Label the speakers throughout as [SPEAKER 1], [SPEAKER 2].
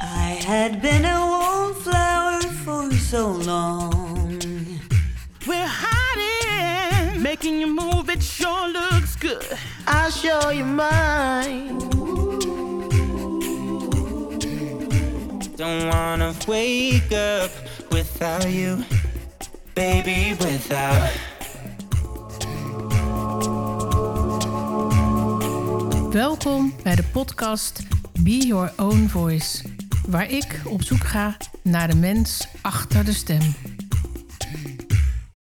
[SPEAKER 1] had been a wallflower for so long.
[SPEAKER 2] We're hiding, making you move. It sure looks good.
[SPEAKER 3] I'll show you mine.
[SPEAKER 4] Don't wanna wake up without you, baby, without.
[SPEAKER 5] Welkom bij de podcast Be Your Own Voice, waar ik op zoek ga naar de mens achter de stem.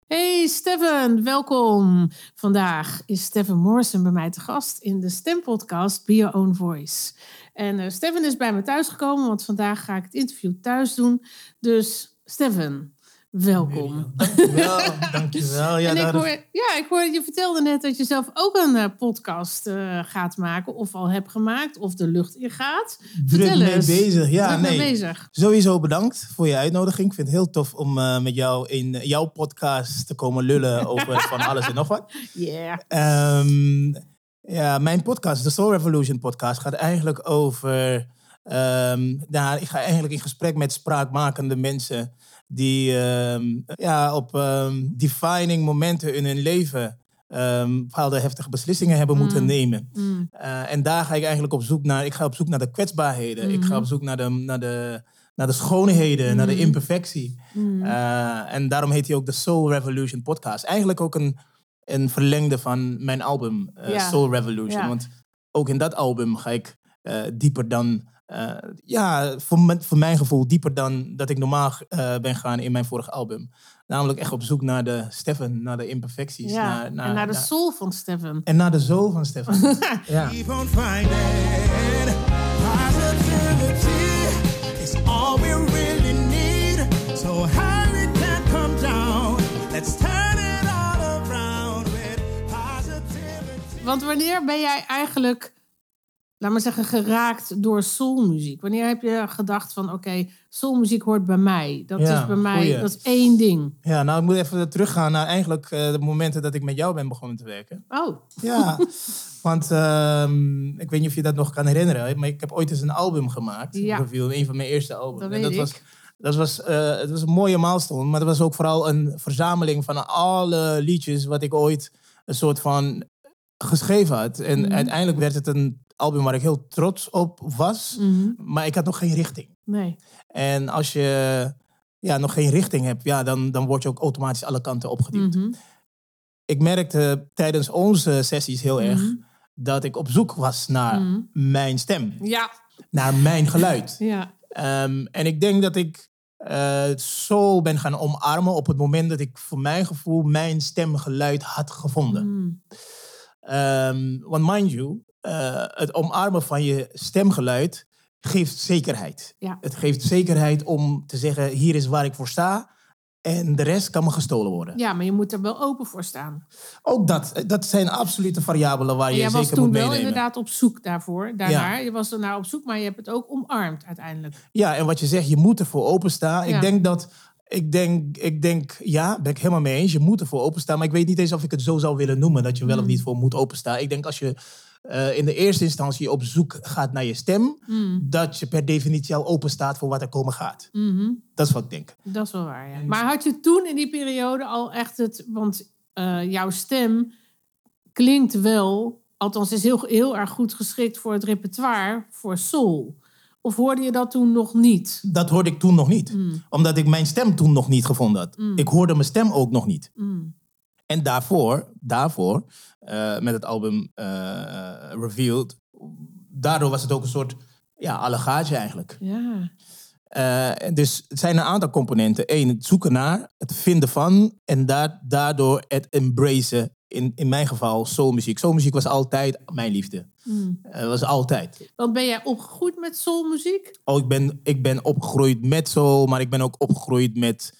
[SPEAKER 6] Hey Steven, welkom. Vandaag is Steven Morrison bij mij te gast in de stempodcast Be Your Own Voice. En eh, Steven is bij me thuis gekomen, want vandaag ga ik het interview thuis doen. Dus Steven, welkom.
[SPEAKER 3] Wel, dankjewel. Ja, nou,
[SPEAKER 6] en ik
[SPEAKER 3] daar-
[SPEAKER 6] hoor, ja, ik hoor, je vertelde net dat je zelf ook een eh, podcast eh, gaat maken, of al hebt gemaakt, of de lucht in gaat.
[SPEAKER 3] druk
[SPEAKER 6] Vertel
[SPEAKER 3] mee
[SPEAKER 6] eens.
[SPEAKER 3] bezig. Ja,
[SPEAKER 6] Druk mee
[SPEAKER 3] nee.
[SPEAKER 6] bezig.
[SPEAKER 3] Sowieso bedankt voor je uitnodiging. Ik vind het heel tof om eh, met jou in jouw podcast te komen lullen over van alles en nog wat.
[SPEAKER 6] Yeah.
[SPEAKER 3] Ehm, ja, mijn podcast, de Soul Revolution podcast, gaat eigenlijk over... ehm, nou, ik ga eigenlijk in gesprek met spraakmakende mensen die ehm, ja, op ehm, defining momenten in hun leven ehm, bepaalde heftige beslissingen hebben moeten nemen.
[SPEAKER 6] Mm.
[SPEAKER 3] Eh, en daar ga ik eigenlijk op zoek naar. Ik ga op zoek naar de kwetsbaarheden. Ik
[SPEAKER 6] Mm.
[SPEAKER 3] ga op zoek naar de, naar de, naar de schoonheden, naar de imperfectie.
[SPEAKER 6] Mm.
[SPEAKER 3] Eh, en daarom heet hij ook de Soul Revolution podcast. Eigenlijk ook een, een verlengde van mijn album eh,
[SPEAKER 6] Ja.
[SPEAKER 3] Soul Revolution.
[SPEAKER 6] Ja.
[SPEAKER 3] Want ook in dat album ga ik eh, dieper dan... eh, ja, voor, mijn- voor mijn gevoel dieper dan dat ik normaal eh, ben gaan in mijn vorige album. Namelijk echt op zoek naar de Steffen, naar de imperfecties.
[SPEAKER 6] Ja.
[SPEAKER 3] Naar,
[SPEAKER 6] en naar de soul van Steven.
[SPEAKER 3] en naar de zool van Steffen. ja.
[SPEAKER 2] Keep on finding positivity is all we really need. So how it can come down? Let's turn it all around with positivity.
[SPEAKER 6] Want wanneer ben jij eigenlijk, laat maar zeggen, geraakt door soulmuziek? Wanneer heb je gedacht van, oké, soulmuziek hoort bij mij. Dat
[SPEAKER 3] Ja,
[SPEAKER 6] is bij mij,
[SPEAKER 3] goeie.
[SPEAKER 6] dat is één ding.
[SPEAKER 3] Ja, nou, ik moet even teruggaan naar eigenlijk eh, de momenten dat ik met jou ben begonnen te werken.
[SPEAKER 6] Oh,
[SPEAKER 3] Ja, want ehm, ik weet niet of je dat nog kan herinneren, maar ik heb ooit eens een album gemaakt.
[SPEAKER 6] Ja.
[SPEAKER 3] Reveal, een van mijn eerste albums.
[SPEAKER 6] Dat
[SPEAKER 3] en dat
[SPEAKER 6] weet
[SPEAKER 3] was,
[SPEAKER 6] ik.
[SPEAKER 3] dat was, eh, het was een mooie milestone, maar het was ook vooral een verzameling van alle liedjes wat ik ooit een soort van geschreven had. En
[SPEAKER 6] Mhm.
[SPEAKER 3] uiteindelijk werd het een album waar ik heel trots op was,
[SPEAKER 6] mhm.
[SPEAKER 3] maar ik had nog geen richting.
[SPEAKER 6] nee.
[SPEAKER 3] En als je ja, nog geen richting hebt, ja, dan, dan word je ook automatisch alle kanten opgeduwd.
[SPEAKER 6] Mhm.
[SPEAKER 3] Ik merkte tijdens onze sessies heel erg
[SPEAKER 6] Mhm.
[SPEAKER 3] dat ik op zoek was naar
[SPEAKER 6] Mhm.
[SPEAKER 3] mijn stem,
[SPEAKER 6] Ja,
[SPEAKER 3] naar mijn geluid.
[SPEAKER 6] ja.
[SPEAKER 3] Ehm, en ik denk dat ik eh zo ben gaan omarmen op het moment dat ik voor mijn gevoel mijn stemgeluid had gevonden.
[SPEAKER 6] Mhm.
[SPEAKER 3] Ehm, want mind you, eh, het omarmen van je stemgeluid geeft zekerheid.
[SPEAKER 6] Ja.
[SPEAKER 3] Het geeft zekerheid om te zeggen, hier is waar ik voor sta. En de rest kan me gestolen worden.
[SPEAKER 6] Ja, maar je moet er wel open voor staan.
[SPEAKER 3] Ook dat, eh, dat zijn absolute variabelen waar
[SPEAKER 6] En
[SPEAKER 3] je
[SPEAKER 6] jij
[SPEAKER 3] zeker
[SPEAKER 6] was toen
[SPEAKER 3] moet
[SPEAKER 6] wel
[SPEAKER 3] meenemen.
[SPEAKER 6] inderdaad op zoek daarvoor. Daarnaar. Je was er naar op zoek, maar je hebt het ook omarmd uiteindelijk.
[SPEAKER 3] Ja, en wat je zegt, je moet ervoor openstaan.
[SPEAKER 6] Ja.
[SPEAKER 3] Ik denk dat, ik denk, ik denk, ja, ben ik helemaal mee eens. Je moet ervoor openstaan. Maar ik weet niet eens of ik het zo zou willen noemen, dat je wel
[SPEAKER 6] Hmm.
[SPEAKER 3] of niet voor moet openstaan. Ik denk als je eh, in de eerste instantie op zoek gaat naar je stem,
[SPEAKER 6] Hmm.
[SPEAKER 3] dat je per definitie al open staat voor wat er komen gaat.
[SPEAKER 6] Mhm.
[SPEAKER 3] Dat is wat ik denk.
[SPEAKER 6] Dat is wel waar, ja. Maar had je toen in die periode al echt het... Want eh, jouw stem klinkt wel... Althans, is heel, heel erg goed geschikt voor het repertoire voor soul. Of hoorde je dat toen nog niet?
[SPEAKER 3] Dat hoorde ik toen nog niet, omdat ik mijn stem toen nog niet gevonden had. Ik hoorde mijn stem ook nog niet. En daarvoor, daarvoor eh, met het album eh, Revealed, daardoor was het ook een soort ja, allegaatje eigenlijk.
[SPEAKER 6] Ja.
[SPEAKER 3] Eh, en dus het zijn een aantal componenten. Eén, het zoeken naar, het vinden van en da- daardoor het embracen. In, in mijn geval soulmuziek. Soulmuziek was altijd mijn liefde. Eh, was altijd.
[SPEAKER 6] Want ben jij opgegroeid met soulmuziek?
[SPEAKER 3] Oh, ik, ben, ik ben opgegroeid met soul, maar ik ben ook opgegroeid met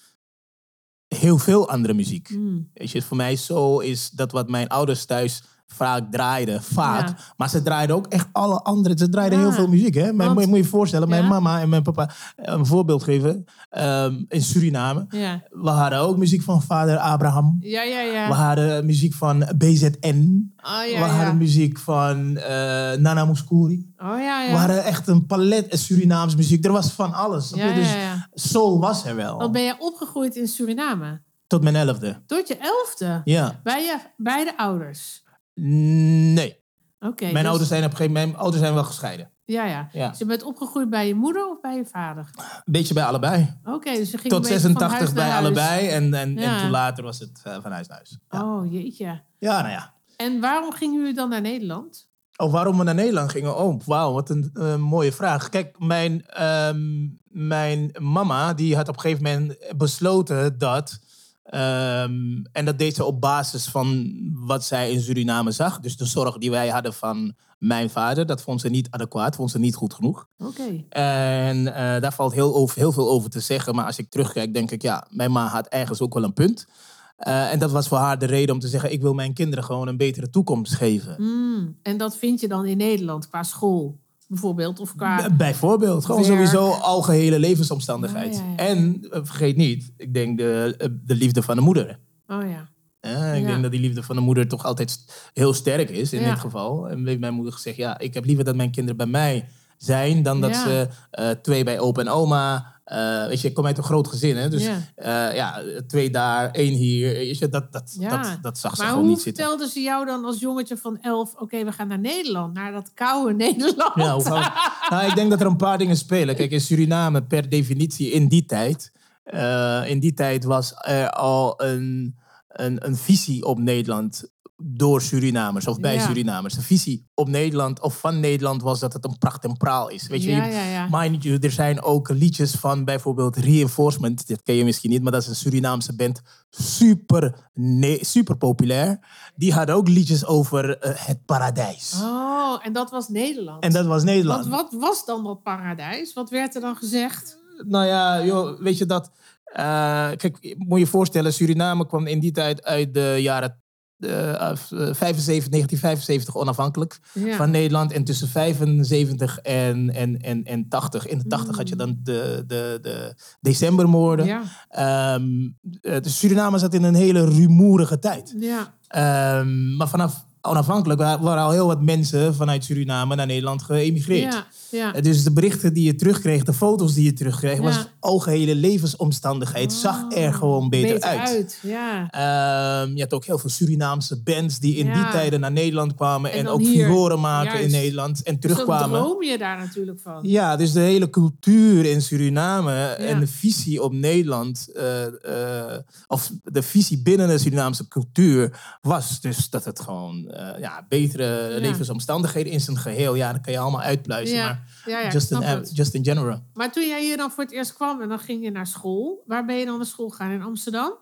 [SPEAKER 6] Hmm.
[SPEAKER 3] heel veel andere muziek. Weet je, voor mij soul is dat wat mijn ouders thuis vaak draaide. Vaak.
[SPEAKER 6] Ja.
[SPEAKER 3] Maar ze draaiden ook echt alle andere. Ze draaiden
[SPEAKER 6] Ja.
[SPEAKER 3] heel veel muziek. Hè? Mijn,
[SPEAKER 6] Want-
[SPEAKER 3] moet, je, moet je voorstellen, mijn
[SPEAKER 6] Ja.
[SPEAKER 3] mama en mijn papa. eh, Een voorbeeld geven. ehm, in Suriname.
[SPEAKER 6] Ja,
[SPEAKER 3] We hadden ook muziek van vader Abraham.
[SPEAKER 6] ja, ja.
[SPEAKER 3] We
[SPEAKER 6] ja.
[SPEAKER 3] hadden muziek van BZN.
[SPEAKER 6] Oh, ja,
[SPEAKER 3] we hadden
[SPEAKER 6] ja.
[SPEAKER 3] muziek van eh, Nana Mouskouri.
[SPEAKER 6] Oh, ja,
[SPEAKER 3] We
[SPEAKER 6] ja.
[SPEAKER 3] hadden echt een palet Surinaams muziek. Er was van alles. snap
[SPEAKER 6] Ja,
[SPEAKER 3] je? Dus
[SPEAKER 6] ja, ja.
[SPEAKER 3] soul was er wel.
[SPEAKER 6] Al ben jij opgegroeid in Suriname.
[SPEAKER 3] Tot mijn elfde.
[SPEAKER 6] Tot je elfde.
[SPEAKER 3] Ja.
[SPEAKER 6] Bij, je, bij de ouders.
[SPEAKER 3] Nee.
[SPEAKER 6] Oké.
[SPEAKER 3] mijn,
[SPEAKER 6] dus-
[SPEAKER 3] ouders zijn op een gegeven moment, mijn ouders zijn wel gescheiden.
[SPEAKER 6] Ja, ja.
[SPEAKER 3] Ja.
[SPEAKER 6] Dus je bent opgegroeid bij je moeder of bij je vader?
[SPEAKER 3] Een beetje bij allebei.
[SPEAKER 6] Oké, dus je ging
[SPEAKER 3] Tot
[SPEAKER 6] een beetje van
[SPEAKER 3] 86
[SPEAKER 6] huis
[SPEAKER 3] bij
[SPEAKER 6] naar huis.
[SPEAKER 3] allebei. En, en,
[SPEAKER 6] Ja.
[SPEAKER 3] en toen later was het eh, van huis naar huis. Ja.
[SPEAKER 6] Oh, jeetje.
[SPEAKER 3] ja, nou ja.
[SPEAKER 6] En waarom gingen jullie dan naar Nederland?
[SPEAKER 3] Oh, waarom we naar Nederland gingen? Oh, wauw, wat een eh, mooie vraag. Kijk, mijn, ehm, mijn mama die had op een gegeven moment besloten dat... ehm, en dat deed ze op basis van wat zij in Suriname zag. Dus de zorg die wij hadden van mijn vader, dat vond ze niet adequaat, vond ze niet goed genoeg.
[SPEAKER 6] Oké.
[SPEAKER 3] En eh, daar valt heel, over, heel veel over te zeggen. Maar als ik terugkijk, denk ik, ja, mijn ma had ergens ook wel een punt. Eh, en dat was voor haar de reden om te zeggen, ik wil mijn kinderen gewoon een betere toekomst geven.
[SPEAKER 6] Mm, En dat vind je dan in Nederland qua school bijvoorbeeld? Of qua...
[SPEAKER 3] B- Bijvoorbeeld, gewoon
[SPEAKER 6] Werk.
[SPEAKER 3] sowieso algehele levensomstandigheid.
[SPEAKER 6] Ah, Ja, ja, ja.
[SPEAKER 3] En eh, vergeet niet, ik denk de, eh, de liefde van de moeder.
[SPEAKER 6] Oh ja.
[SPEAKER 3] Eh, ik
[SPEAKER 6] Ja.
[SPEAKER 3] denk dat die liefde van de moeder toch altijd st- heel sterk is in
[SPEAKER 6] Ja.
[SPEAKER 3] dit geval. En heeft mijn moeder gezegd, ja, ik heb liever dat mijn kinderen bij mij zijn dan dat
[SPEAKER 6] Ja.
[SPEAKER 3] ze eh, twee bij opa en oma. eh, weet je, ik kom uit een groot gezin, hè? dus
[SPEAKER 6] Ja.
[SPEAKER 3] ja, ja twee daar, één hier. Weet je, dat, dat,
[SPEAKER 6] Ja.
[SPEAKER 3] dat, dat zag ze
[SPEAKER 6] Maar
[SPEAKER 3] gewoon
[SPEAKER 6] hoe
[SPEAKER 3] niet zitten.
[SPEAKER 6] vertelden ze jou dan als jongetje van elf... Oké, we gaan naar Nederland, naar dat koude Nederland.
[SPEAKER 3] Ja, hoe gaan we- nou, ik denk dat er een paar dingen spelen. Kijk, in Suriname per definitie in die tijd... eh, in die tijd was er al een, een, een visie op Nederland door Surinamers of bij
[SPEAKER 6] Ja.
[SPEAKER 3] Surinamers. De visie op Nederland of van Nederland was dat het een pracht en praal is. Weet je,
[SPEAKER 6] ja,
[SPEAKER 3] je-
[SPEAKER 6] ja, ja.
[SPEAKER 3] Mind you, er zijn ook liedjes van bijvoorbeeld Reinforcement. Dat ken je misschien niet, maar dat is een Surinaamse band. Super, ne- super populair. Die had ook liedjes over eh, het paradijs.
[SPEAKER 6] Oh, en dat was Nederland.
[SPEAKER 3] En dat was Nederland.
[SPEAKER 6] Want wat was dan dat paradijs? Wat werd er dan gezegd?
[SPEAKER 3] nou ja, joh, weet je dat. eh, kijk, moet je je voorstellen, Suriname kwam in die tijd uit de jaren eh, af- eh, 75, 1975 onafhankelijk
[SPEAKER 6] Ja.
[SPEAKER 3] van Nederland. En tussen 75 en, en, en, en 80. In de 80 had je dan de, de, de decembermoorden.
[SPEAKER 6] Mm. ja,
[SPEAKER 3] Ehm, eh, dus Suriname zat in een hele rumoerige tijd.
[SPEAKER 6] ja,
[SPEAKER 3] Ehm, maar vanaf onafhankelijk wa- waren al heel wat mensen vanuit Suriname naar Nederland geëmigreerd.
[SPEAKER 6] ja, ja.
[SPEAKER 3] Eh, Dus de berichten die je terugkreeg, de foto's die je terugkreeg,
[SPEAKER 6] Ja. Ah,
[SPEAKER 3] was algehele levensomstandigheid. Zag er gewoon beter, uit.
[SPEAKER 6] Ja,
[SPEAKER 3] Ehm, je had ook heel veel Surinaamse bands die in
[SPEAKER 6] Ja.
[SPEAKER 3] die tijden naar Nederland kwamen en,
[SPEAKER 6] dan
[SPEAKER 3] ook
[SPEAKER 6] hier.
[SPEAKER 3] furoren maken
[SPEAKER 6] Juist.
[SPEAKER 3] in Nederland en
[SPEAKER 6] dus dan
[SPEAKER 3] terugkwamen.
[SPEAKER 6] droom je daar natuurlijk van.
[SPEAKER 3] ja, dus de hele cultuur in Suriname en de visie op Nederland, eh, eh, of de visie binnen de Surinaamse cultuur, was dus dat het gewoon eh, ja, betere
[SPEAKER 6] Ja.
[SPEAKER 3] levensomstandigheden in zijn geheel. Ja, dat kan je allemaal uitpluizen.
[SPEAKER 6] ja,
[SPEAKER 3] Maar
[SPEAKER 6] ja, ja, ik
[SPEAKER 3] just, in,
[SPEAKER 6] snap
[SPEAKER 3] eh,
[SPEAKER 6] het.
[SPEAKER 3] just in general.
[SPEAKER 6] Maar toen jij hier dan voor het eerst kwam en dan ging je naar school. Waar ben je dan naar school gegaan? In Amsterdam?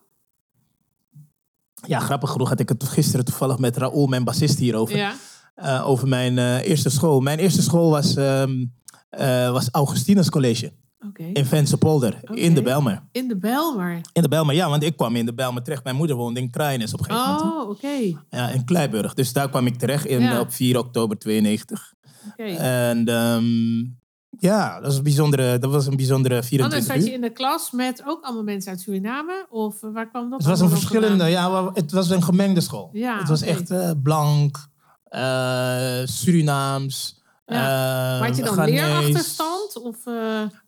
[SPEAKER 3] Ja, grappig genoeg had ik het gisteren toevallig met Raoul, mijn bassist, hierover.
[SPEAKER 6] Ja.
[SPEAKER 3] Eh, over mijn eh, eerste school. Mijn eerste school was, ehm eh, was Augustinus College
[SPEAKER 6] Oké.
[SPEAKER 3] in Vensterpolder, in de Bijlmer.
[SPEAKER 6] In de Belmer.
[SPEAKER 3] In de Bijlmer, ja, want ik kwam in de Bijlmer terecht. Mijn moeder woonde in Kraaiennis op een gegeven moment.
[SPEAKER 6] Oh, oké. oké.
[SPEAKER 3] Ja, in Kleiburg. Dus daar kwam ik terecht in,
[SPEAKER 6] Ja.
[SPEAKER 3] op 4 oktober 92. En ehm, ja, dat was een bijzondere, dat was een bijzondere
[SPEAKER 6] Anders
[SPEAKER 3] 24
[SPEAKER 6] Oh, zat je
[SPEAKER 3] uur.
[SPEAKER 6] in de klas met ook allemaal mensen uit Suriname? Of eh, waar kwam dat
[SPEAKER 3] Het was een
[SPEAKER 6] allemaal
[SPEAKER 3] verschillende,
[SPEAKER 6] vandaan?
[SPEAKER 3] ja, wa- het was een gemengde school.
[SPEAKER 6] Ja,
[SPEAKER 3] het was
[SPEAKER 6] oké.
[SPEAKER 3] echt eh, blank, eh, Surinaams.
[SPEAKER 6] Ja.
[SPEAKER 3] eh,
[SPEAKER 6] Maar had je dan
[SPEAKER 3] Ghanese.
[SPEAKER 6] leerachterstand? Of, eh,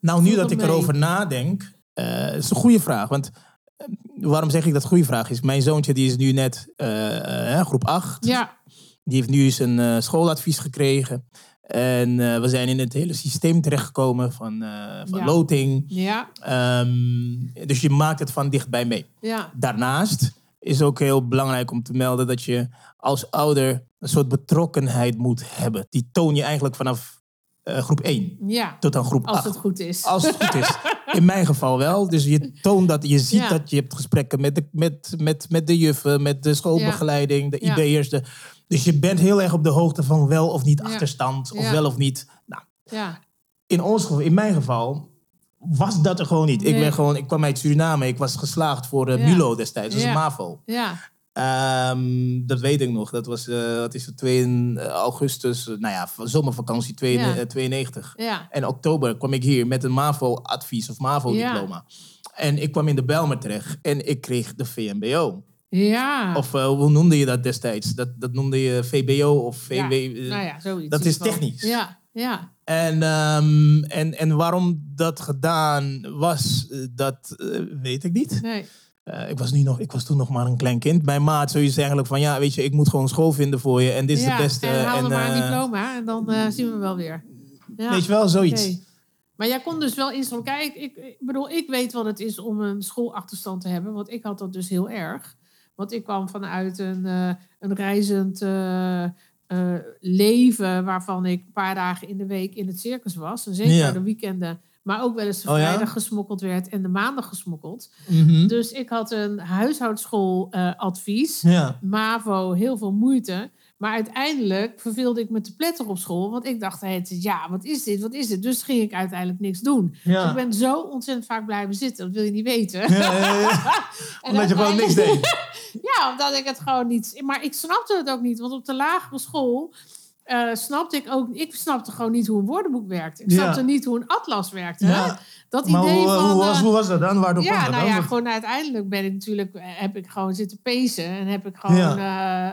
[SPEAKER 3] Nou, nu
[SPEAKER 6] Viel
[SPEAKER 3] dat
[SPEAKER 6] dat
[SPEAKER 3] ik
[SPEAKER 6] mee?
[SPEAKER 3] erover nadenk, eh is een goede vraag. Want eh, waarom zeg ik dat goede vraag is? Mijn zoontje die is nu net eh, eh, groep 8.
[SPEAKER 6] ja,
[SPEAKER 3] Die heeft nu zijn eh, schooladvies gekregen. En eh, we zijn in het hele systeem terechtgekomen van, eh, van
[SPEAKER 6] Ja.
[SPEAKER 3] loting.
[SPEAKER 6] ja,
[SPEAKER 3] Ehm, dus je maakt het van dichtbij mee.
[SPEAKER 6] ja.
[SPEAKER 3] Daarnaast is ook heel belangrijk om te melden dat je als ouder een soort betrokkenheid moet hebben. Die toon je eigenlijk vanaf eh, groep 1
[SPEAKER 6] Ja,
[SPEAKER 3] tot aan groep
[SPEAKER 6] als
[SPEAKER 3] 8.
[SPEAKER 6] het goed is.
[SPEAKER 3] Als het goed is. In mijn geval wel. Dus je toont dat je ziet
[SPEAKER 6] Ja.
[SPEAKER 3] dat je hebt gesprekken met de, met, met, met de juffen, met de schoolbegeleiding, de
[SPEAKER 6] Ja.
[SPEAKER 3] IB'ers. De, dus je bent heel erg op de hoogte van wel of niet
[SPEAKER 6] Ja.
[SPEAKER 3] achterstand, of
[SPEAKER 6] Ja.
[SPEAKER 3] wel of niet. Nou,
[SPEAKER 6] Ja,
[SPEAKER 3] in, ons geval, in mijn geval was dat er gewoon niet. Ik,
[SPEAKER 6] Nee.
[SPEAKER 3] ben gewoon, ik kwam uit Suriname, ik was geslaagd voor eh,
[SPEAKER 6] Ja.
[SPEAKER 3] MULO destijds, dat is
[SPEAKER 6] Ja.
[SPEAKER 3] MAVO.
[SPEAKER 6] ja,
[SPEAKER 3] Eh, Ehm, dat weet ik nog. Dat was, eh, wat is het, 2 augustus, eh, nou ja, v- zomervakantie 2,
[SPEAKER 6] Ja.
[SPEAKER 3] eh, 92.
[SPEAKER 6] Ja.
[SPEAKER 3] En oktober kwam ik hier met een MAVO-advies of MAVO-diploma. En ik kwam in de Bijlmer terecht en ik kreeg de VMBO.
[SPEAKER 6] Ja.
[SPEAKER 3] Of eh, hoe noemde je dat destijds? Dat, dat noemde je VBO of VW.
[SPEAKER 6] ja.
[SPEAKER 3] eh,
[SPEAKER 6] Nou ja, zoiets.
[SPEAKER 3] dat
[SPEAKER 6] in
[SPEAKER 3] is
[SPEAKER 6] ieder geval.
[SPEAKER 3] technisch.
[SPEAKER 6] Ja, ja.
[SPEAKER 3] En, ehm, en, en waarom dat gedaan was, eh, dat eh, weet ik niet.
[SPEAKER 6] Nee.
[SPEAKER 3] Eh, ik, was nu nog, ik was toen nog maar een klein kind. Mijn maat zoiets eigenlijk van, ja, weet je, ik moet gewoon school vinden voor je. En dit is
[SPEAKER 6] ja.
[SPEAKER 3] de beste.
[SPEAKER 6] En haal er maar een
[SPEAKER 3] eh,
[SPEAKER 6] diploma en dan eh, zien we wel weer. Ja.
[SPEAKER 3] Weet je wel, zoiets.
[SPEAKER 6] Oké. Maar jij kon dus wel instellen. Kijk, ik, ik bedoel, ik weet wat het is om een schoolachterstand te hebben. Want ik had dat dus heel erg. Want ik kwam vanuit een, eh, een reizend eh, eh, leven... waarvan ik een paar dagen in de week in het circus was. En zeker
[SPEAKER 3] Ja.
[SPEAKER 6] de weekenden. Maar ook wel eens de
[SPEAKER 3] Oh ja?
[SPEAKER 6] vrijdag gesmokkeld werd en de maandag gesmokkeld.
[SPEAKER 3] Mhm.
[SPEAKER 6] Dus ik had een huishoudschooladvies.
[SPEAKER 3] Ja.
[SPEAKER 6] MAVO, heel veel moeite. Maar uiteindelijk verveelde ik me te pletter op school. Want ik dacht, het, ja, wat is dit? Wat is dit? Dus ging ik uiteindelijk niks doen. Dus ik
[SPEAKER 3] Ja.
[SPEAKER 6] ben zo ontzettend vaak blijven zitten. Dat wil je niet weten.
[SPEAKER 3] Ja, ja, ja.
[SPEAKER 6] En
[SPEAKER 3] Omdat je gewoon niks
[SPEAKER 6] uiteindelijk-
[SPEAKER 3] deed.
[SPEAKER 6] Ja, omdat ik het gewoon niet... Maar ik snapte het ook niet. Want op de lagere school eh, snapte ik ook... Ik snapte gewoon niet hoe een woordenboek werkte. Ik
[SPEAKER 3] Ja.
[SPEAKER 6] snapte niet hoe een atlas werkte.
[SPEAKER 3] Ja.
[SPEAKER 6] Dat
[SPEAKER 3] Maar
[SPEAKER 6] idee
[SPEAKER 3] hoe,
[SPEAKER 6] van...
[SPEAKER 3] hoe, was,
[SPEAKER 6] eh,
[SPEAKER 3] hoe was dat dan? Waardoor kwam
[SPEAKER 6] ja,
[SPEAKER 3] dat
[SPEAKER 6] nou
[SPEAKER 3] dan?
[SPEAKER 6] ja,
[SPEAKER 3] Want-
[SPEAKER 6] gewoon uiteindelijk ben ik natuurlijk, eh, heb ik gewoon zitten pezen en heb ik gewoon
[SPEAKER 3] Ja.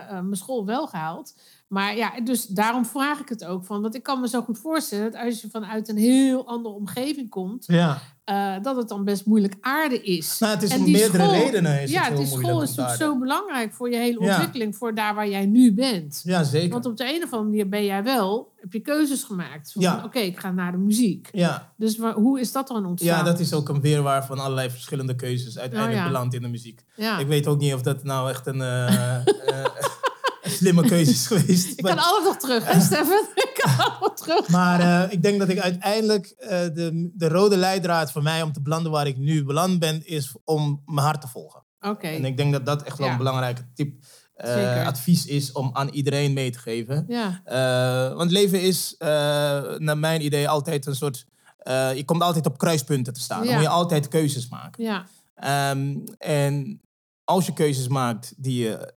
[SPEAKER 6] eh, eh, mijn school wel gehaald. Maar ja, dus daarom vraag ik het ook van, want ik kan me zo goed voorstellen dat als je vanuit een heel andere omgeving komt,
[SPEAKER 3] ja.
[SPEAKER 6] eh, dat het dan best moeilijk aarde is.
[SPEAKER 3] Nou, het is
[SPEAKER 6] En
[SPEAKER 3] om
[SPEAKER 6] die
[SPEAKER 3] meerdere
[SPEAKER 6] school-
[SPEAKER 3] redenen. Is
[SPEAKER 6] ja,
[SPEAKER 3] het heel
[SPEAKER 6] die school
[SPEAKER 3] moeilijk
[SPEAKER 6] is
[SPEAKER 3] om
[SPEAKER 6] natuurlijk
[SPEAKER 3] daar-
[SPEAKER 6] zo belangrijk voor je hele
[SPEAKER 3] Ja.
[SPEAKER 6] ontwikkeling, voor daar waar jij nu bent.
[SPEAKER 3] Ja, zeker.
[SPEAKER 6] Want op de een of andere manier ben jij wel, heb je keuzes gemaakt. Van,
[SPEAKER 3] Ja.
[SPEAKER 6] Oké, ik ga naar de muziek.
[SPEAKER 3] ja.
[SPEAKER 6] Dus wa- hoe is dat dan ontstaan?
[SPEAKER 3] ja, dat is ook een weerwaar van allerlei verschillende keuzes. Uiteindelijk
[SPEAKER 6] Oh, ja.
[SPEAKER 3] beland in de muziek.
[SPEAKER 6] Ja.
[SPEAKER 3] Ik weet ook niet of dat nou echt een, eh, eh, een slimme keuze is geweest.
[SPEAKER 6] Ik
[SPEAKER 3] maar
[SPEAKER 6] kan alles nog terug, hè, Stefan? Ik kan alles nog terug.
[SPEAKER 3] maar eh, ik denk dat ik uiteindelijk eh, de, de rode leidraad voor mij om te belanden waar ik nu beland ben, is om mijn hart te volgen.
[SPEAKER 6] Oké.
[SPEAKER 3] En ik denk dat dat echt wel
[SPEAKER 6] Ja.
[SPEAKER 3] een belangrijk tip, eh,
[SPEAKER 6] Zeker.
[SPEAKER 3] advies is om aan iedereen mee te geven.
[SPEAKER 6] Ja,
[SPEAKER 3] Eh, want leven is, eh, naar mijn idee, altijd een soort. eh, je komt altijd op kruispunten te staan.
[SPEAKER 6] Ja.
[SPEAKER 3] Dan moet je altijd keuzes maken.
[SPEAKER 6] ja,
[SPEAKER 3] Ehm, en als je keuzes maakt die je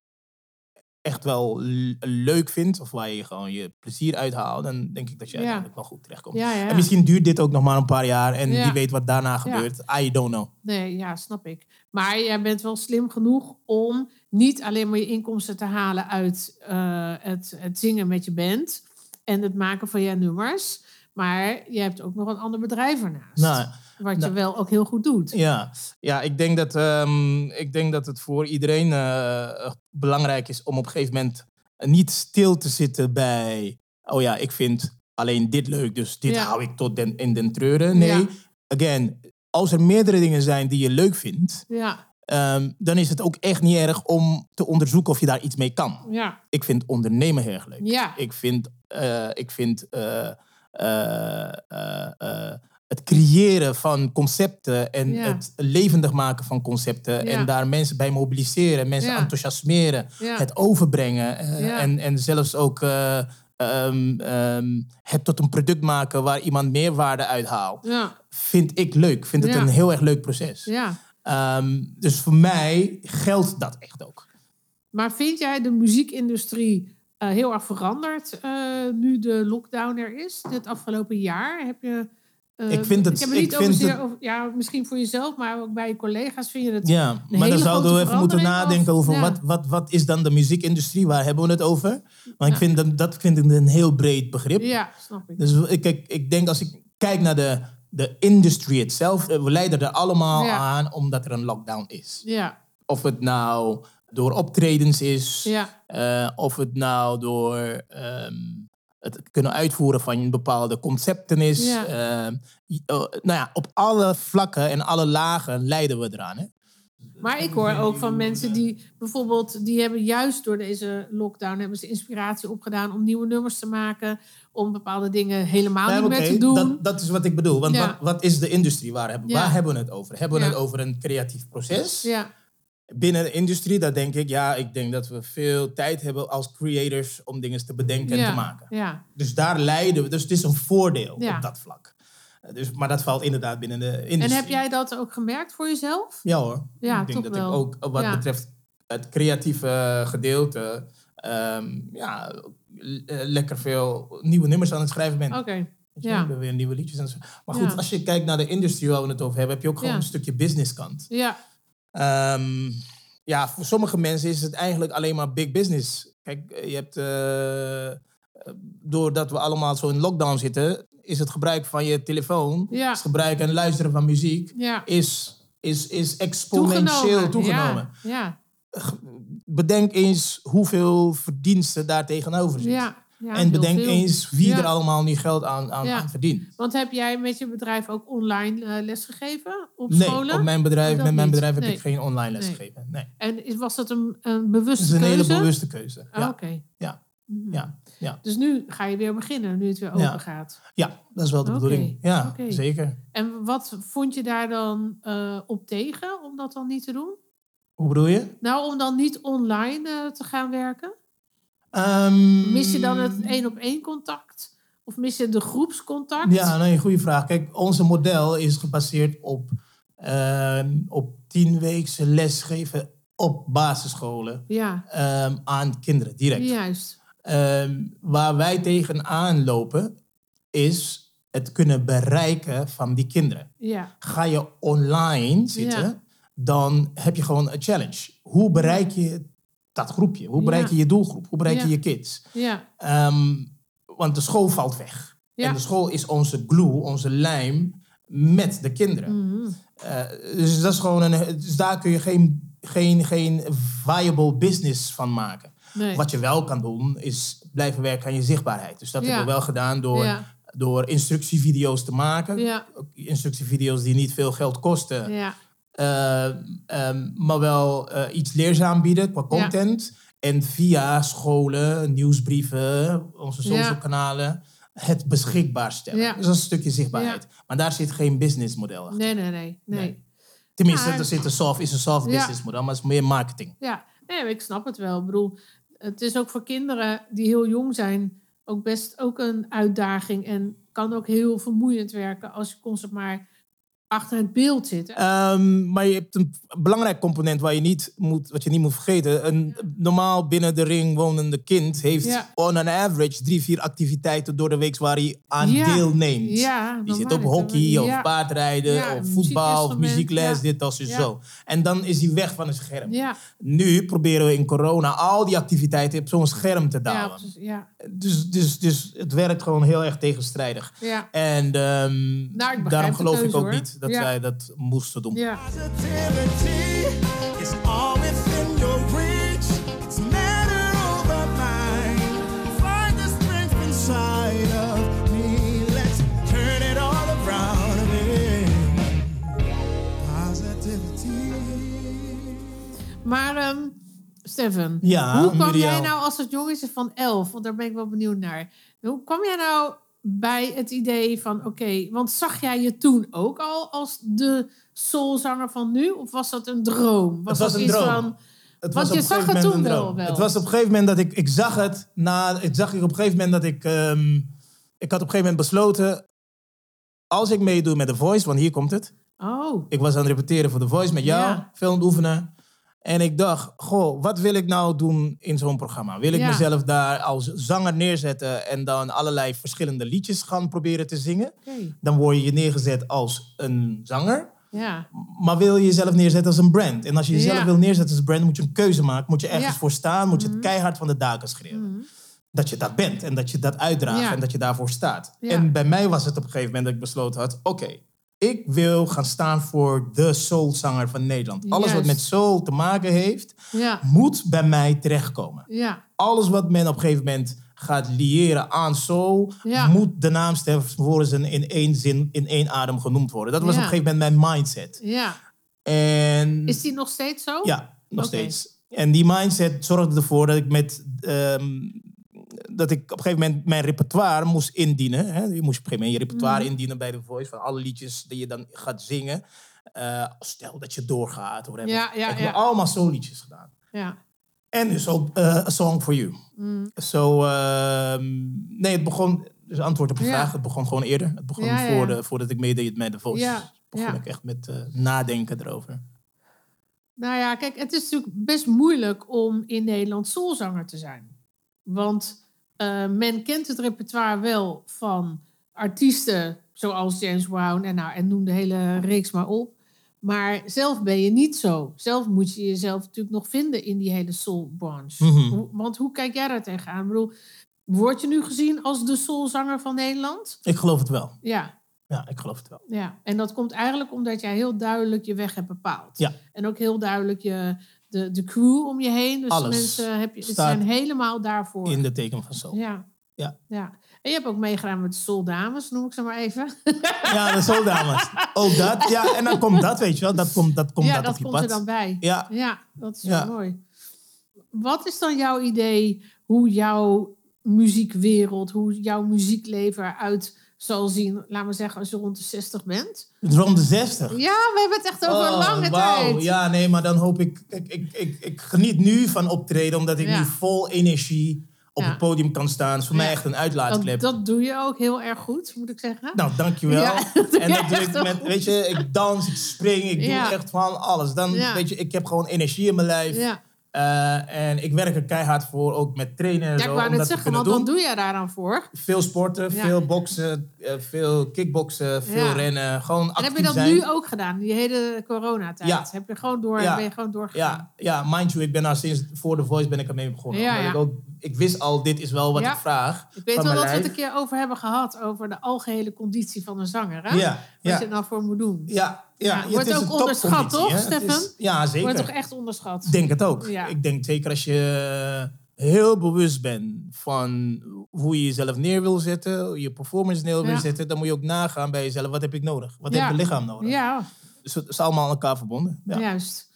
[SPEAKER 3] echt wel l- leuk vindt, of waar je gewoon je plezier uit haalt, dan denk ik dat je
[SPEAKER 6] Ja.
[SPEAKER 3] uiteindelijk wel goed terechtkomt.
[SPEAKER 6] ja, ja.
[SPEAKER 3] En misschien duurt dit ook nog maar een paar jaar en
[SPEAKER 6] Ja.
[SPEAKER 3] wie weet wat daarna gebeurt. I don't know.
[SPEAKER 6] Nee, ja, snap ik. Maar jij bent wel slim genoeg om niet alleen maar je inkomsten te halen uit eh, het, het zingen met je band en het maken van je nummers. Maar je hebt ook nog een ander bedrijf ernaast.
[SPEAKER 3] Nou,
[SPEAKER 6] wat je
[SPEAKER 3] nou.
[SPEAKER 6] wel ook heel goed doet.
[SPEAKER 3] Ja, ja ik, denk dat, ehm, ik denk dat het voor iedereen eh, belangrijk is om op een gegeven moment eh, niet stil te zitten bij, oh ja, ik vind alleen dit leuk, dus dit
[SPEAKER 6] Ja.
[SPEAKER 3] hou ik tot den, in den treuren. Nee,
[SPEAKER 6] Ja.
[SPEAKER 3] again, als er meerdere dingen zijn die je leuk vindt,
[SPEAKER 6] Ja,
[SPEAKER 3] ehm, dan is het ook echt niet erg om te onderzoeken of je daar iets mee kan.
[SPEAKER 6] ja,
[SPEAKER 3] Ik vind ondernemen heel erg leuk.
[SPEAKER 6] ja.
[SPEAKER 3] Ik vind, eh, ik vind eh, eh, eh, eh, het creëren van concepten en
[SPEAKER 6] Ja.
[SPEAKER 3] het levendig maken van concepten
[SPEAKER 6] Ja.
[SPEAKER 3] en daar mensen bij mobiliseren, mensen
[SPEAKER 6] Ja.
[SPEAKER 3] enthousiasmeren,
[SPEAKER 6] Ja.
[SPEAKER 3] het overbrengen eh,
[SPEAKER 6] Ja.
[SPEAKER 3] en, en zelfs ook eh, ehm, ehm, het tot een product maken waar iemand meerwaarde uit haalt.
[SPEAKER 6] Ja,
[SPEAKER 3] Vind ik leuk. Vind het
[SPEAKER 6] Ja.
[SPEAKER 3] een heel erg leuk proces.
[SPEAKER 6] ja.
[SPEAKER 3] Ehm, dus voor mij geldt dat echt ook.
[SPEAKER 6] Maar vind jij de muziekindustrie eh, heel erg veranderd eh, nu de lockdown er is? Dit afgelopen jaar heb je. eh,
[SPEAKER 3] Ik vind het-
[SPEAKER 6] heb het niet
[SPEAKER 3] ik vind
[SPEAKER 6] overzeer
[SPEAKER 3] het-
[SPEAKER 6] over- ja, misschien voor jezelf, maar ook bij je collega's vind je het.
[SPEAKER 3] Ja, maar
[SPEAKER 6] hele
[SPEAKER 3] dan zouden we
[SPEAKER 6] grote
[SPEAKER 3] even moeten
[SPEAKER 6] verandering,
[SPEAKER 3] nadenken
[SPEAKER 6] of-
[SPEAKER 3] over
[SPEAKER 6] ja.
[SPEAKER 3] wat, wat, wat is dan de muziekindustrie? Waar hebben we het over? Want
[SPEAKER 6] Ja.
[SPEAKER 3] ik vind dat, dat vind ik een heel breed begrip.
[SPEAKER 6] Ja, snap ik.
[SPEAKER 3] Dus ik, ik, ik denk als ik kijk naar de, de industrie zelf, eh, we leiden er allemaal
[SPEAKER 6] Ja.
[SPEAKER 3] aan omdat er een lockdown is.
[SPEAKER 6] Ja,
[SPEAKER 3] Of het nou door optredens is,
[SPEAKER 6] ja,
[SPEAKER 3] eh, of het nou door ehm, het kunnen uitvoeren van bepaalde concepten is.
[SPEAKER 6] Ja.
[SPEAKER 3] Ehm, j- eh, nou ja, op alle vlakken en alle lagen leiden we eraan. Hè?
[SPEAKER 6] maar ik hoor ook van mensen die bijvoorbeeld, die hebben juist door deze lockdown, hebben ze inspiratie opgedaan om nieuwe nummers te maken, om bepaalde dingen helemaal
[SPEAKER 3] Ja,
[SPEAKER 6] niet meer
[SPEAKER 3] oké,
[SPEAKER 6] te doen.
[SPEAKER 3] Dat, dat is wat ik bedoel. Want
[SPEAKER 6] Ja.
[SPEAKER 3] wat, wat is de industrie? Waar hebben,
[SPEAKER 6] Ja.
[SPEAKER 3] waar hebben we het over? Hebben we
[SPEAKER 6] Ja.
[SPEAKER 3] het over een creatief proces?
[SPEAKER 6] ja,
[SPEAKER 3] Binnen de industrie, dat denk ik, ja, ik denk dat we veel tijd hebben als creators om dingen te bedenken en
[SPEAKER 6] ja,
[SPEAKER 3] te maken.
[SPEAKER 6] ja,
[SPEAKER 3] Dus daar leiden we. Dus het is een voordeel
[SPEAKER 6] Ja.
[SPEAKER 3] op dat vlak. Eh, Dus, maar dat valt inderdaad binnen de industrie.
[SPEAKER 6] En heb jij dat ook gemerkt voor jezelf?
[SPEAKER 3] Ja hoor.
[SPEAKER 6] Ja,
[SPEAKER 3] ik denk
[SPEAKER 6] toch
[SPEAKER 3] dat
[SPEAKER 6] wel.
[SPEAKER 3] ik ook eh, wat
[SPEAKER 6] Ja.
[SPEAKER 3] betreft het creatieve eh, gedeelte ehm, ja, l- eh, lekker veel nieuwe nummers aan het schrijven bent.
[SPEAKER 6] Oké,
[SPEAKER 3] Weet je,
[SPEAKER 6] ja.
[SPEAKER 3] we hebben weer nieuwe liedjes. En zo. Maar goed,
[SPEAKER 6] Ja.
[SPEAKER 3] als je kijkt naar de industrie waar we het over hebben, heb je ook gewoon
[SPEAKER 6] Ja.
[SPEAKER 3] een stukje businesskant.
[SPEAKER 6] ja.
[SPEAKER 3] Ehm, ja, voor sommige mensen is het eigenlijk alleen maar big business. Kijk, eh, je hebt, eh, eh, doordat we allemaal zo in lockdown zitten, is het gebruik van je telefoon,
[SPEAKER 6] Ja.
[SPEAKER 3] het gebruik en luisteren van muziek,
[SPEAKER 6] ja.
[SPEAKER 3] is, is, is exponentieel toegenomen.
[SPEAKER 6] Ja,
[SPEAKER 3] Bedenk eens hoeveel verdiensten daar tegenover
[SPEAKER 6] ja,
[SPEAKER 3] zit.
[SPEAKER 6] ja, ja,
[SPEAKER 3] en
[SPEAKER 6] heel
[SPEAKER 3] bedenk
[SPEAKER 6] veel.
[SPEAKER 3] eens wie
[SPEAKER 6] Ja.
[SPEAKER 3] er allemaal niet geld aan, aan,
[SPEAKER 6] Ja.
[SPEAKER 3] aan verdient.
[SPEAKER 6] Want heb jij met je bedrijf ook online eh, lesgegeven op
[SPEAKER 3] Nee,
[SPEAKER 6] scholen?
[SPEAKER 3] op mijn bedrijf,
[SPEAKER 6] Oh, dat
[SPEAKER 3] met mijn
[SPEAKER 6] niet.
[SPEAKER 3] bedrijf heb
[SPEAKER 6] Nee.
[SPEAKER 3] ik geen online les
[SPEAKER 6] Nee.
[SPEAKER 3] gegeven. Nee.
[SPEAKER 6] En is- was dat een, een
[SPEAKER 3] Het
[SPEAKER 6] bewuste
[SPEAKER 3] is een
[SPEAKER 6] keuze?
[SPEAKER 3] hele bewuste keuze.
[SPEAKER 6] Ah,
[SPEAKER 3] ja.
[SPEAKER 6] Oké.
[SPEAKER 3] Ja.
[SPEAKER 6] Mhm.
[SPEAKER 3] Ja. Ja.
[SPEAKER 6] Dus nu ga je weer beginnen, nu het weer open
[SPEAKER 3] Ja.
[SPEAKER 6] gaat.
[SPEAKER 3] ja, dat is wel de
[SPEAKER 6] Oké,
[SPEAKER 3] bedoeling. Ja,
[SPEAKER 6] oké.
[SPEAKER 3] zeker.
[SPEAKER 6] En wat vond je daar dan eh, op tegen om dat dan niet te doen?
[SPEAKER 3] Hoe bedoel je?
[SPEAKER 6] Nou, om dan niet online eh, te gaan werken?
[SPEAKER 3] Ehm,
[SPEAKER 6] Mis je dan het één op één contact? Of mis je de groepscontact?
[SPEAKER 3] Ja, nee, goede vraag. Kijk, onze model is gebaseerd op, ehm op tienweekse lesgeven op basisscholen
[SPEAKER 6] ja.
[SPEAKER 3] ehm, aan kinderen, direct.
[SPEAKER 6] juist.
[SPEAKER 3] Ehm, waar wij tegenaan lopen, is het kunnen bereiken van die kinderen.
[SPEAKER 6] Ja,
[SPEAKER 3] ga je online zitten,
[SPEAKER 6] Ja.
[SPEAKER 3] dan heb je gewoon een challenge. Hoe bereik je dat groepje? Hoe bereik je
[SPEAKER 6] Ja.
[SPEAKER 3] je doelgroep? Hoe bereik
[SPEAKER 6] Ja.
[SPEAKER 3] je je kids?
[SPEAKER 6] ja,
[SPEAKER 3] Ehm, want de school valt weg.
[SPEAKER 6] Ja.
[SPEAKER 3] En de school is onze glue, onze lijm met de kinderen.
[SPEAKER 6] Mhm.
[SPEAKER 3] Eh, dus, dat is gewoon een, dus daar kun je geen, geen, geen viable business van maken.
[SPEAKER 6] nee.
[SPEAKER 3] Wat je wel kan doen, is blijven werken aan je zichtbaarheid. Dus dat
[SPEAKER 6] Ja.
[SPEAKER 3] hebben we wel gedaan door,
[SPEAKER 6] Ja,
[SPEAKER 3] door instructievideo's te maken.
[SPEAKER 6] ja,
[SPEAKER 3] Ook instructievideo's die niet veel geld kosten.
[SPEAKER 6] ja,
[SPEAKER 3] Eh, ehm, maar wel eh, iets leerzaam bieden qua content. En via scholen, nieuwsbrieven, onze social
[SPEAKER 6] Ja.
[SPEAKER 3] kanalen het beschikbaar stellen.
[SPEAKER 6] Ja.
[SPEAKER 3] Dus dat is een stukje zichtbaarheid. Maar daar zit geen businessmodel achter.
[SPEAKER 6] nee, nee, nee, nee.
[SPEAKER 3] Nee. Tenminste,
[SPEAKER 6] Maar-
[SPEAKER 3] er zit een soft, is een soft
[SPEAKER 6] Ja.
[SPEAKER 3] businessmodel, maar het is meer marketing.
[SPEAKER 6] Ja, nee, maar ik snap het wel. Ik bedoel, het is ook voor kinderen die heel jong zijn ook best ook een uitdaging. En kan ook heel vermoeiend werken als je constant maar achter het beeld zit. hè?
[SPEAKER 3] Ehm, maar je hebt een belangrijk component waar je niet moet, wat je niet moet vergeten. Een normaal binnen de ring wonende kind heeft
[SPEAKER 6] Ja.
[SPEAKER 3] on an average drie, vier activiteiten door de week waar hij aan
[SPEAKER 6] Ja.
[SPEAKER 3] deelneemt.
[SPEAKER 6] ja,
[SPEAKER 3] Die
[SPEAKER 6] dan
[SPEAKER 3] zit
[SPEAKER 6] waar
[SPEAKER 3] op
[SPEAKER 6] het,
[SPEAKER 3] hockey
[SPEAKER 6] hè?
[SPEAKER 3] of
[SPEAKER 6] ja,
[SPEAKER 3] paardrijden
[SPEAKER 6] Ja,
[SPEAKER 3] of
[SPEAKER 6] een
[SPEAKER 3] voetbal of
[SPEAKER 6] muziekinstrument,
[SPEAKER 3] muziekles,
[SPEAKER 6] ja.
[SPEAKER 3] dit, dat, zo,
[SPEAKER 6] Ja.
[SPEAKER 3] zo. En dan is hij weg van het scherm.
[SPEAKER 6] Ja,
[SPEAKER 3] Nu proberen we in corona al die activiteiten op zo'n scherm te
[SPEAKER 6] ja,
[SPEAKER 3] dalen.
[SPEAKER 6] precies, ja,
[SPEAKER 3] dus, dus, dus het werkt gewoon heel erg tegenstrijdig.
[SPEAKER 6] ja, Nou,
[SPEAKER 3] En ehm,
[SPEAKER 6] begrijp
[SPEAKER 3] daarom
[SPEAKER 6] de
[SPEAKER 3] geloof
[SPEAKER 6] keuze,
[SPEAKER 3] ik ook
[SPEAKER 6] hoor.
[SPEAKER 3] niet dat
[SPEAKER 6] Ja.
[SPEAKER 3] wij dat moesten doen.
[SPEAKER 2] eh,
[SPEAKER 6] ja.
[SPEAKER 2] Positivity is all within your reach. It's a matter of our mind. Find the strength inside of me. Let's turn it all around. with Positivity.
[SPEAKER 6] Maar ehm, Steven,
[SPEAKER 3] Ja,
[SPEAKER 6] hoe kwam jij
[SPEAKER 3] Muriel.
[SPEAKER 6] nou als het jongetje van elf? Want daar ben ik wel benieuwd naar. Hoe kwam jij nou bij het idee van, oké, want zag jij je toen ook al als de soulzanger van nu? Of was dat een droom?
[SPEAKER 3] Het was
[SPEAKER 6] dat
[SPEAKER 3] een
[SPEAKER 6] iets
[SPEAKER 3] droom.
[SPEAKER 6] Van,
[SPEAKER 3] Het
[SPEAKER 6] Want
[SPEAKER 3] was
[SPEAKER 6] je
[SPEAKER 3] op een
[SPEAKER 6] zag
[SPEAKER 3] gegeven
[SPEAKER 6] het
[SPEAKER 3] moment
[SPEAKER 6] toen
[SPEAKER 3] een
[SPEAKER 6] wel
[SPEAKER 3] droom.
[SPEAKER 6] wel.
[SPEAKER 3] Het was op een gegeven moment dat ik... Ik zag het. Na, het zag ik op een gegeven moment dat ik... ehm, ik had op een gegeven moment besloten... Als ik meedoe met The Voice, want hier komt het.
[SPEAKER 6] oh,
[SPEAKER 3] Ik was aan het repeteren voor The Voice met jou.
[SPEAKER 6] Ja.
[SPEAKER 3] Veel aan het oefenen. En ik dacht, goh, wat wil ik nou doen in zo'n programma? Wil ik
[SPEAKER 6] Ja.
[SPEAKER 3] mezelf daar als zanger neerzetten... en dan allerlei verschillende liedjes gaan proberen te zingen?
[SPEAKER 6] oké.
[SPEAKER 3] Dan word je neergezet als een zanger...
[SPEAKER 6] Ja,
[SPEAKER 3] Maar wil je jezelf neerzetten als een brand? En als je jezelf
[SPEAKER 6] Ja.
[SPEAKER 3] wil neerzetten als een brand, moet je een keuze maken. Moet je ergens
[SPEAKER 6] Ja. Mhm.
[SPEAKER 3] voor staan. Moet je het keihard van de daken schreeuwen. Dat je dat bent en dat je dat uitdraagt
[SPEAKER 6] Ja.
[SPEAKER 3] en dat je daarvoor staat.
[SPEAKER 6] Ja.
[SPEAKER 3] En bij mij was het op een gegeven moment dat ik besloten had: oké, ik wil gaan staan voor de soulzanger van Nederland. Alles wat
[SPEAKER 6] Juist.
[SPEAKER 3] met soul te maken heeft,
[SPEAKER 6] ja,
[SPEAKER 3] moet bij mij terechtkomen.
[SPEAKER 6] ja,
[SPEAKER 3] Alles wat men op een gegeven moment gaat liëren aan soul,
[SPEAKER 6] Ja.
[SPEAKER 3] moet de naam Stef Voorzen in één zin, in één adem genoemd worden. Dat was
[SPEAKER 6] Ja.
[SPEAKER 3] op een gegeven moment mijn mindset.
[SPEAKER 6] ja.
[SPEAKER 3] En
[SPEAKER 6] Is die nog steeds zo?
[SPEAKER 3] ja, nog
[SPEAKER 6] Oké.
[SPEAKER 3] steeds. En die mindset zorgde ervoor dat ik met ehm, dat ik op een gegeven moment mijn repertoire moest indienen. Hè. Je moest op een gegeven moment je repertoire
[SPEAKER 6] Mhm.
[SPEAKER 3] indienen bij de voice van alle liedjes die je dan gaat zingen. Eh, stel dat je doorgaat. Hoor,
[SPEAKER 6] Ja, ja,
[SPEAKER 3] ik heb
[SPEAKER 6] ja.
[SPEAKER 3] allemaal zo liedjes gedaan.
[SPEAKER 6] Ja,
[SPEAKER 3] En dus ook eh, A Song for You.
[SPEAKER 6] Mm.
[SPEAKER 3] Zo, ehm, nee, het begon, dus antwoord op je
[SPEAKER 6] Ja.
[SPEAKER 3] vraag, het begon gewoon eerder. Het begon
[SPEAKER 6] Ja, ja, ja.
[SPEAKER 3] voor de- voordat ik meedeed met de voice.
[SPEAKER 6] Ja,
[SPEAKER 3] Begon
[SPEAKER 6] ja.
[SPEAKER 3] ik echt met eh, nadenken erover.
[SPEAKER 6] Nou ja, kijk, het is natuurlijk best moeilijk om in Nederland soulzanger te zijn. Want eh, men kent het repertoire wel van artiesten zoals James Brown en, nou, en noem de hele reeks maar op. Maar zelf ben je niet zo. Zelf moet je jezelf natuurlijk nog vinden in die hele soulbranche.
[SPEAKER 3] Mhm.
[SPEAKER 6] Hoe- Want hoe kijk jij daar tegenaan? Ik bedoel, word je nu gezien als de soulzanger van Nederland?
[SPEAKER 3] Ik geloof het wel.
[SPEAKER 6] Ja.
[SPEAKER 3] Ja, ik geloof het wel.
[SPEAKER 6] Ja, en dat komt eigenlijk omdat jij heel duidelijk je weg hebt bepaald.
[SPEAKER 3] Ja.
[SPEAKER 6] En ook heel duidelijk je, de, de crew om je heen. Dus de
[SPEAKER 3] Alles
[SPEAKER 6] mensen heb je, het
[SPEAKER 3] staat
[SPEAKER 6] zijn helemaal daarvoor.
[SPEAKER 3] In de teken van soul.
[SPEAKER 6] ja.
[SPEAKER 3] Ja.
[SPEAKER 6] ja. En je hebt ook meegedaan met de soldames, noem ik ze maar even.
[SPEAKER 3] Ja, de soul dames. Ook dat. Ja, en dan komt dat, weet je wel. Dat komt, dat komt
[SPEAKER 6] ja,
[SPEAKER 3] dat,
[SPEAKER 6] dat
[SPEAKER 3] op je
[SPEAKER 6] komt
[SPEAKER 3] pad.
[SPEAKER 6] er dan bij.
[SPEAKER 3] Ja.
[SPEAKER 6] dat is
[SPEAKER 3] Ja.
[SPEAKER 6] wel mooi. Wat is dan jouw idee hoe jouw muziekwereld, hoe jouw muziekleven eruit zal zien? Laten we zeggen, als je rond de 60 bent.
[SPEAKER 3] Rond de 60.
[SPEAKER 6] Ja, we hebben het echt over
[SPEAKER 3] Ah. Oh,
[SPEAKER 6] lange
[SPEAKER 3] wauw.
[SPEAKER 6] tijd.
[SPEAKER 3] Ja, nee, maar dan hoop ik ik, ik, ik... ik geniet nu van optreden, omdat ik
[SPEAKER 6] Ja.
[SPEAKER 3] nu vol energie op
[SPEAKER 6] Ja.
[SPEAKER 3] het podium kan staan. Dat is voor
[SPEAKER 6] Ja.
[SPEAKER 3] mij echt een
[SPEAKER 6] Dat,
[SPEAKER 3] uitlaatklep.
[SPEAKER 6] dat doe je ook heel erg goed, moet ik zeggen.
[SPEAKER 3] Nou, dankjewel.
[SPEAKER 6] Ja, dat doe
[SPEAKER 3] en
[SPEAKER 6] je
[SPEAKER 3] dat doe
[SPEAKER 6] echt
[SPEAKER 3] ik
[SPEAKER 6] wel
[SPEAKER 3] met,
[SPEAKER 6] goed.
[SPEAKER 3] weet je, ik dans, ik spring, ik
[SPEAKER 6] Ja.
[SPEAKER 3] doe echt van alles. Dan,
[SPEAKER 6] Ja.
[SPEAKER 3] weet je, ik heb gewoon energie in mijn lijf.
[SPEAKER 6] ja.
[SPEAKER 3] Eh, en ik werk er keihard voor, ook met trainen en
[SPEAKER 6] ja,
[SPEAKER 3] zo.
[SPEAKER 6] ik
[SPEAKER 3] om
[SPEAKER 6] wou
[SPEAKER 3] dat
[SPEAKER 6] net
[SPEAKER 3] te
[SPEAKER 6] zeggen,
[SPEAKER 3] kunnen
[SPEAKER 6] want wat
[SPEAKER 3] doen.
[SPEAKER 6] doe jij daar dan voor?
[SPEAKER 3] Veel sporten,
[SPEAKER 6] Ja.
[SPEAKER 3] veel boksen, eh, veel kickboksen, veel
[SPEAKER 6] Ja.
[SPEAKER 3] rennen. Gewoon
[SPEAKER 6] En
[SPEAKER 3] actief
[SPEAKER 6] heb je dat
[SPEAKER 3] zijn.
[SPEAKER 6] nu ook gedaan, die hele coronatijd?
[SPEAKER 3] Ja.
[SPEAKER 6] Heb je gewoon door,
[SPEAKER 3] Ja.
[SPEAKER 6] ben je gewoon doorgegaan?
[SPEAKER 3] Ja, ja, mind you, ik ben al sinds voor The Voice ben ik ermee begonnen.
[SPEAKER 6] Ja,
[SPEAKER 3] Omdat
[SPEAKER 6] ja.
[SPEAKER 3] Ik, ook, ik wist al, dit is wel wat
[SPEAKER 6] Ja.
[SPEAKER 3] ik vraag.
[SPEAKER 6] Ik weet
[SPEAKER 3] van
[SPEAKER 6] wel dat
[SPEAKER 3] mijn
[SPEAKER 6] we het een
[SPEAKER 3] lijf.
[SPEAKER 6] keer over hebben gehad, over de algehele conditie van een zanger. Hè?
[SPEAKER 3] Ja,
[SPEAKER 6] Wat
[SPEAKER 3] ja,
[SPEAKER 6] je er nou voor moet doen.
[SPEAKER 3] ja,
[SPEAKER 6] Ja,
[SPEAKER 3] ja.
[SPEAKER 6] wordt
[SPEAKER 3] het is
[SPEAKER 6] ook
[SPEAKER 3] een topconditie,
[SPEAKER 6] onderschat, toch,
[SPEAKER 3] hè? Het is-
[SPEAKER 6] Stefan?
[SPEAKER 3] Ja, zeker.
[SPEAKER 6] Wordt toch echt onderschat?
[SPEAKER 3] Ik denk het ook.
[SPEAKER 6] Ja.
[SPEAKER 3] Ik denk zeker als je eh, heel bewust bent van hoe je jezelf neer wil zetten, hoe je performance neer wil
[SPEAKER 6] Ja.
[SPEAKER 3] zetten, dan moet je ook nagaan bij jezelf, wat heb ik nodig? Wat
[SPEAKER 6] Ja.
[SPEAKER 3] heeft mijn lichaam nodig?
[SPEAKER 6] ja,
[SPEAKER 3] Dus het is allemaal aan elkaar verbonden. Ja, ja.
[SPEAKER 6] juist.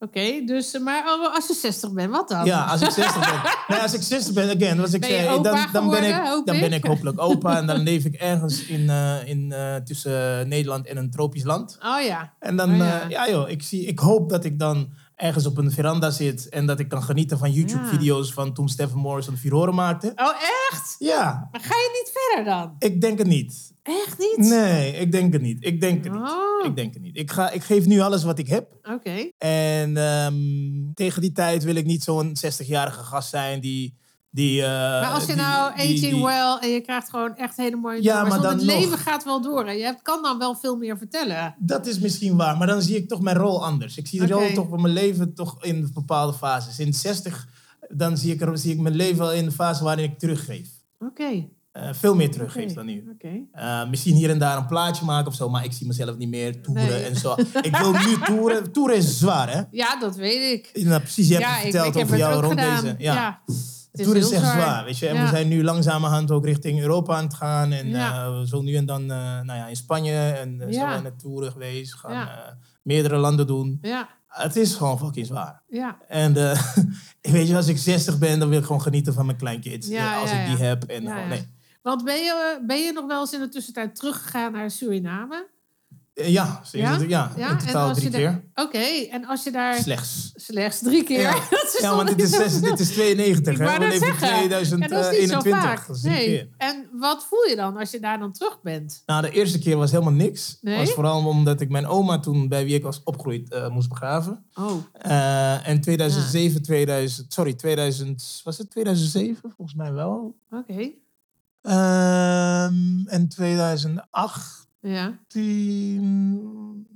[SPEAKER 6] Oké, dus, eh, maar als je 60 bent, wat dan?
[SPEAKER 3] als ik 60 ben. Nee, als ik 60 ben, again, als ik
[SPEAKER 6] Ben je
[SPEAKER 3] zei,
[SPEAKER 6] opa
[SPEAKER 3] dan, dan, ben
[SPEAKER 6] geworden, hoop
[SPEAKER 3] ik, dan ben
[SPEAKER 6] ik?
[SPEAKER 3] ik hopelijk opa en dan leef ik ergens in, eh, in, eh, tussen Nederland en een tropisch land.
[SPEAKER 6] Oh ja.
[SPEAKER 3] En dan,
[SPEAKER 6] Oh
[SPEAKER 3] eh,
[SPEAKER 6] ja.
[SPEAKER 3] ja, joh, ik, zie, ik hoop dat ik dan ergens op een veranda zit en dat ik kan genieten van YouTube-video's van toen Stephen Morrison Furore maakte.
[SPEAKER 6] Oh echt?
[SPEAKER 3] Ja,
[SPEAKER 6] Maar ga je niet verder dan?
[SPEAKER 3] ik denk het niet.
[SPEAKER 6] Echt niet?
[SPEAKER 3] Nee, ik denk het niet. Ik denk het niet.
[SPEAKER 6] Oh,
[SPEAKER 3] Ik denk het niet. Ik, ga, ik geef nu alles wat ik heb.
[SPEAKER 6] oké.
[SPEAKER 3] En ehm, tegen die tijd wil ik niet zo'n 60-jarige gast zijn die. die eh,
[SPEAKER 6] Maar als je
[SPEAKER 3] die-
[SPEAKER 6] nou
[SPEAKER 3] die-
[SPEAKER 6] aging
[SPEAKER 3] die-
[SPEAKER 6] well en je krijgt gewoon echt hele mooie
[SPEAKER 3] Ja,
[SPEAKER 6] nummers. want
[SPEAKER 3] maar dan
[SPEAKER 6] het
[SPEAKER 3] nog.
[SPEAKER 6] leven gaat wel door. En je hebt- kan dan wel veel meer vertellen.
[SPEAKER 3] Dat is misschien waar, maar dan zie ik toch mijn rol anders. Ik zie de
[SPEAKER 6] Oké.
[SPEAKER 3] rol toch van mijn leven toch in bepaalde fases. In 60, dan zie ik, er, zie ik mijn leven al in de fase waarin ik teruggeef.
[SPEAKER 6] Oké,
[SPEAKER 3] Eh, veel meer teruggeef
[SPEAKER 6] Oké.
[SPEAKER 3] dan nu.
[SPEAKER 6] oké.
[SPEAKER 3] Eh, misschien hier en daar een plaatje maken of zo, maar ik zie mezelf niet meer toeren
[SPEAKER 6] Nee.
[SPEAKER 3] en zo. Ik wil nu toeren. Toeren is zwaar, hè?
[SPEAKER 6] Ja, dat weet ik.
[SPEAKER 3] Nou, precies, je hebt
[SPEAKER 6] ja,
[SPEAKER 3] het verteld over jouw rond deze. Ja.
[SPEAKER 6] Het is
[SPEAKER 3] Toeren is
[SPEAKER 6] heel
[SPEAKER 3] echt
[SPEAKER 6] zwaar.
[SPEAKER 3] zwaar, weet je. En
[SPEAKER 6] Ja.
[SPEAKER 3] we zijn nu langzamerhand ook richting Europa aan het gaan. En
[SPEAKER 6] Ja.
[SPEAKER 3] eh, zo nu en dan eh, nou ja, in Spanje en eh,
[SPEAKER 6] Ja.
[SPEAKER 3] zijn we naar toeren geweest. Gaan
[SPEAKER 6] Ja.
[SPEAKER 3] eh, meerdere landen doen.
[SPEAKER 6] Ja,
[SPEAKER 3] Het is gewoon fucking zwaar.
[SPEAKER 6] ja,
[SPEAKER 3] En eh, weet je, als ik 60 ben, dan wil ik gewoon genieten van mijn kleinkids.
[SPEAKER 6] Ja,
[SPEAKER 3] Eh, als
[SPEAKER 6] ja,
[SPEAKER 3] ik die
[SPEAKER 6] ja.
[SPEAKER 3] heb. En
[SPEAKER 6] Ja,
[SPEAKER 3] gewoon,
[SPEAKER 6] ja.
[SPEAKER 3] nee.
[SPEAKER 6] Want ben je, eh, ben je nog wel eens in de tussentijd teruggegaan naar Suriname?
[SPEAKER 3] Eh, ja, sinds- ja? ja,
[SPEAKER 6] Ja,
[SPEAKER 3] in
[SPEAKER 6] en
[SPEAKER 3] totaal
[SPEAKER 6] als
[SPEAKER 3] drie
[SPEAKER 6] je daar-
[SPEAKER 3] keer.
[SPEAKER 6] Oké, en als je daar
[SPEAKER 3] Slechts.
[SPEAKER 6] slechts drie keer...
[SPEAKER 3] Ja.
[SPEAKER 6] dat is
[SPEAKER 3] Ja,
[SPEAKER 6] toch
[SPEAKER 3] want dit
[SPEAKER 6] niet
[SPEAKER 3] is, zes-
[SPEAKER 6] zoveel.
[SPEAKER 3] dit is 92.
[SPEAKER 6] Ik
[SPEAKER 3] hè?
[SPEAKER 6] wou
[SPEAKER 3] We
[SPEAKER 6] net
[SPEAKER 3] leven in
[SPEAKER 6] zeggen. En dat is niet zo
[SPEAKER 3] 2021.
[SPEAKER 6] vaak.
[SPEAKER 3] eh, Dat is drie
[SPEAKER 6] Nee.
[SPEAKER 3] keer.
[SPEAKER 6] En wat voel je dan als je daar dan terug bent?
[SPEAKER 3] Nou, de eerste keer was helemaal niks.
[SPEAKER 6] Nee?
[SPEAKER 3] was vooral omdat ik mijn oma toen, bij wie ik was opgegroeid, eh, moest begraven.
[SPEAKER 6] Oh,
[SPEAKER 3] Eh, en 2007,
[SPEAKER 6] Ah.
[SPEAKER 3] 2000, sorry, 2000, was het 2007? Volgens mij wel.
[SPEAKER 6] oké.
[SPEAKER 3] Ehm, en 2008
[SPEAKER 6] Ja.
[SPEAKER 3] 2018.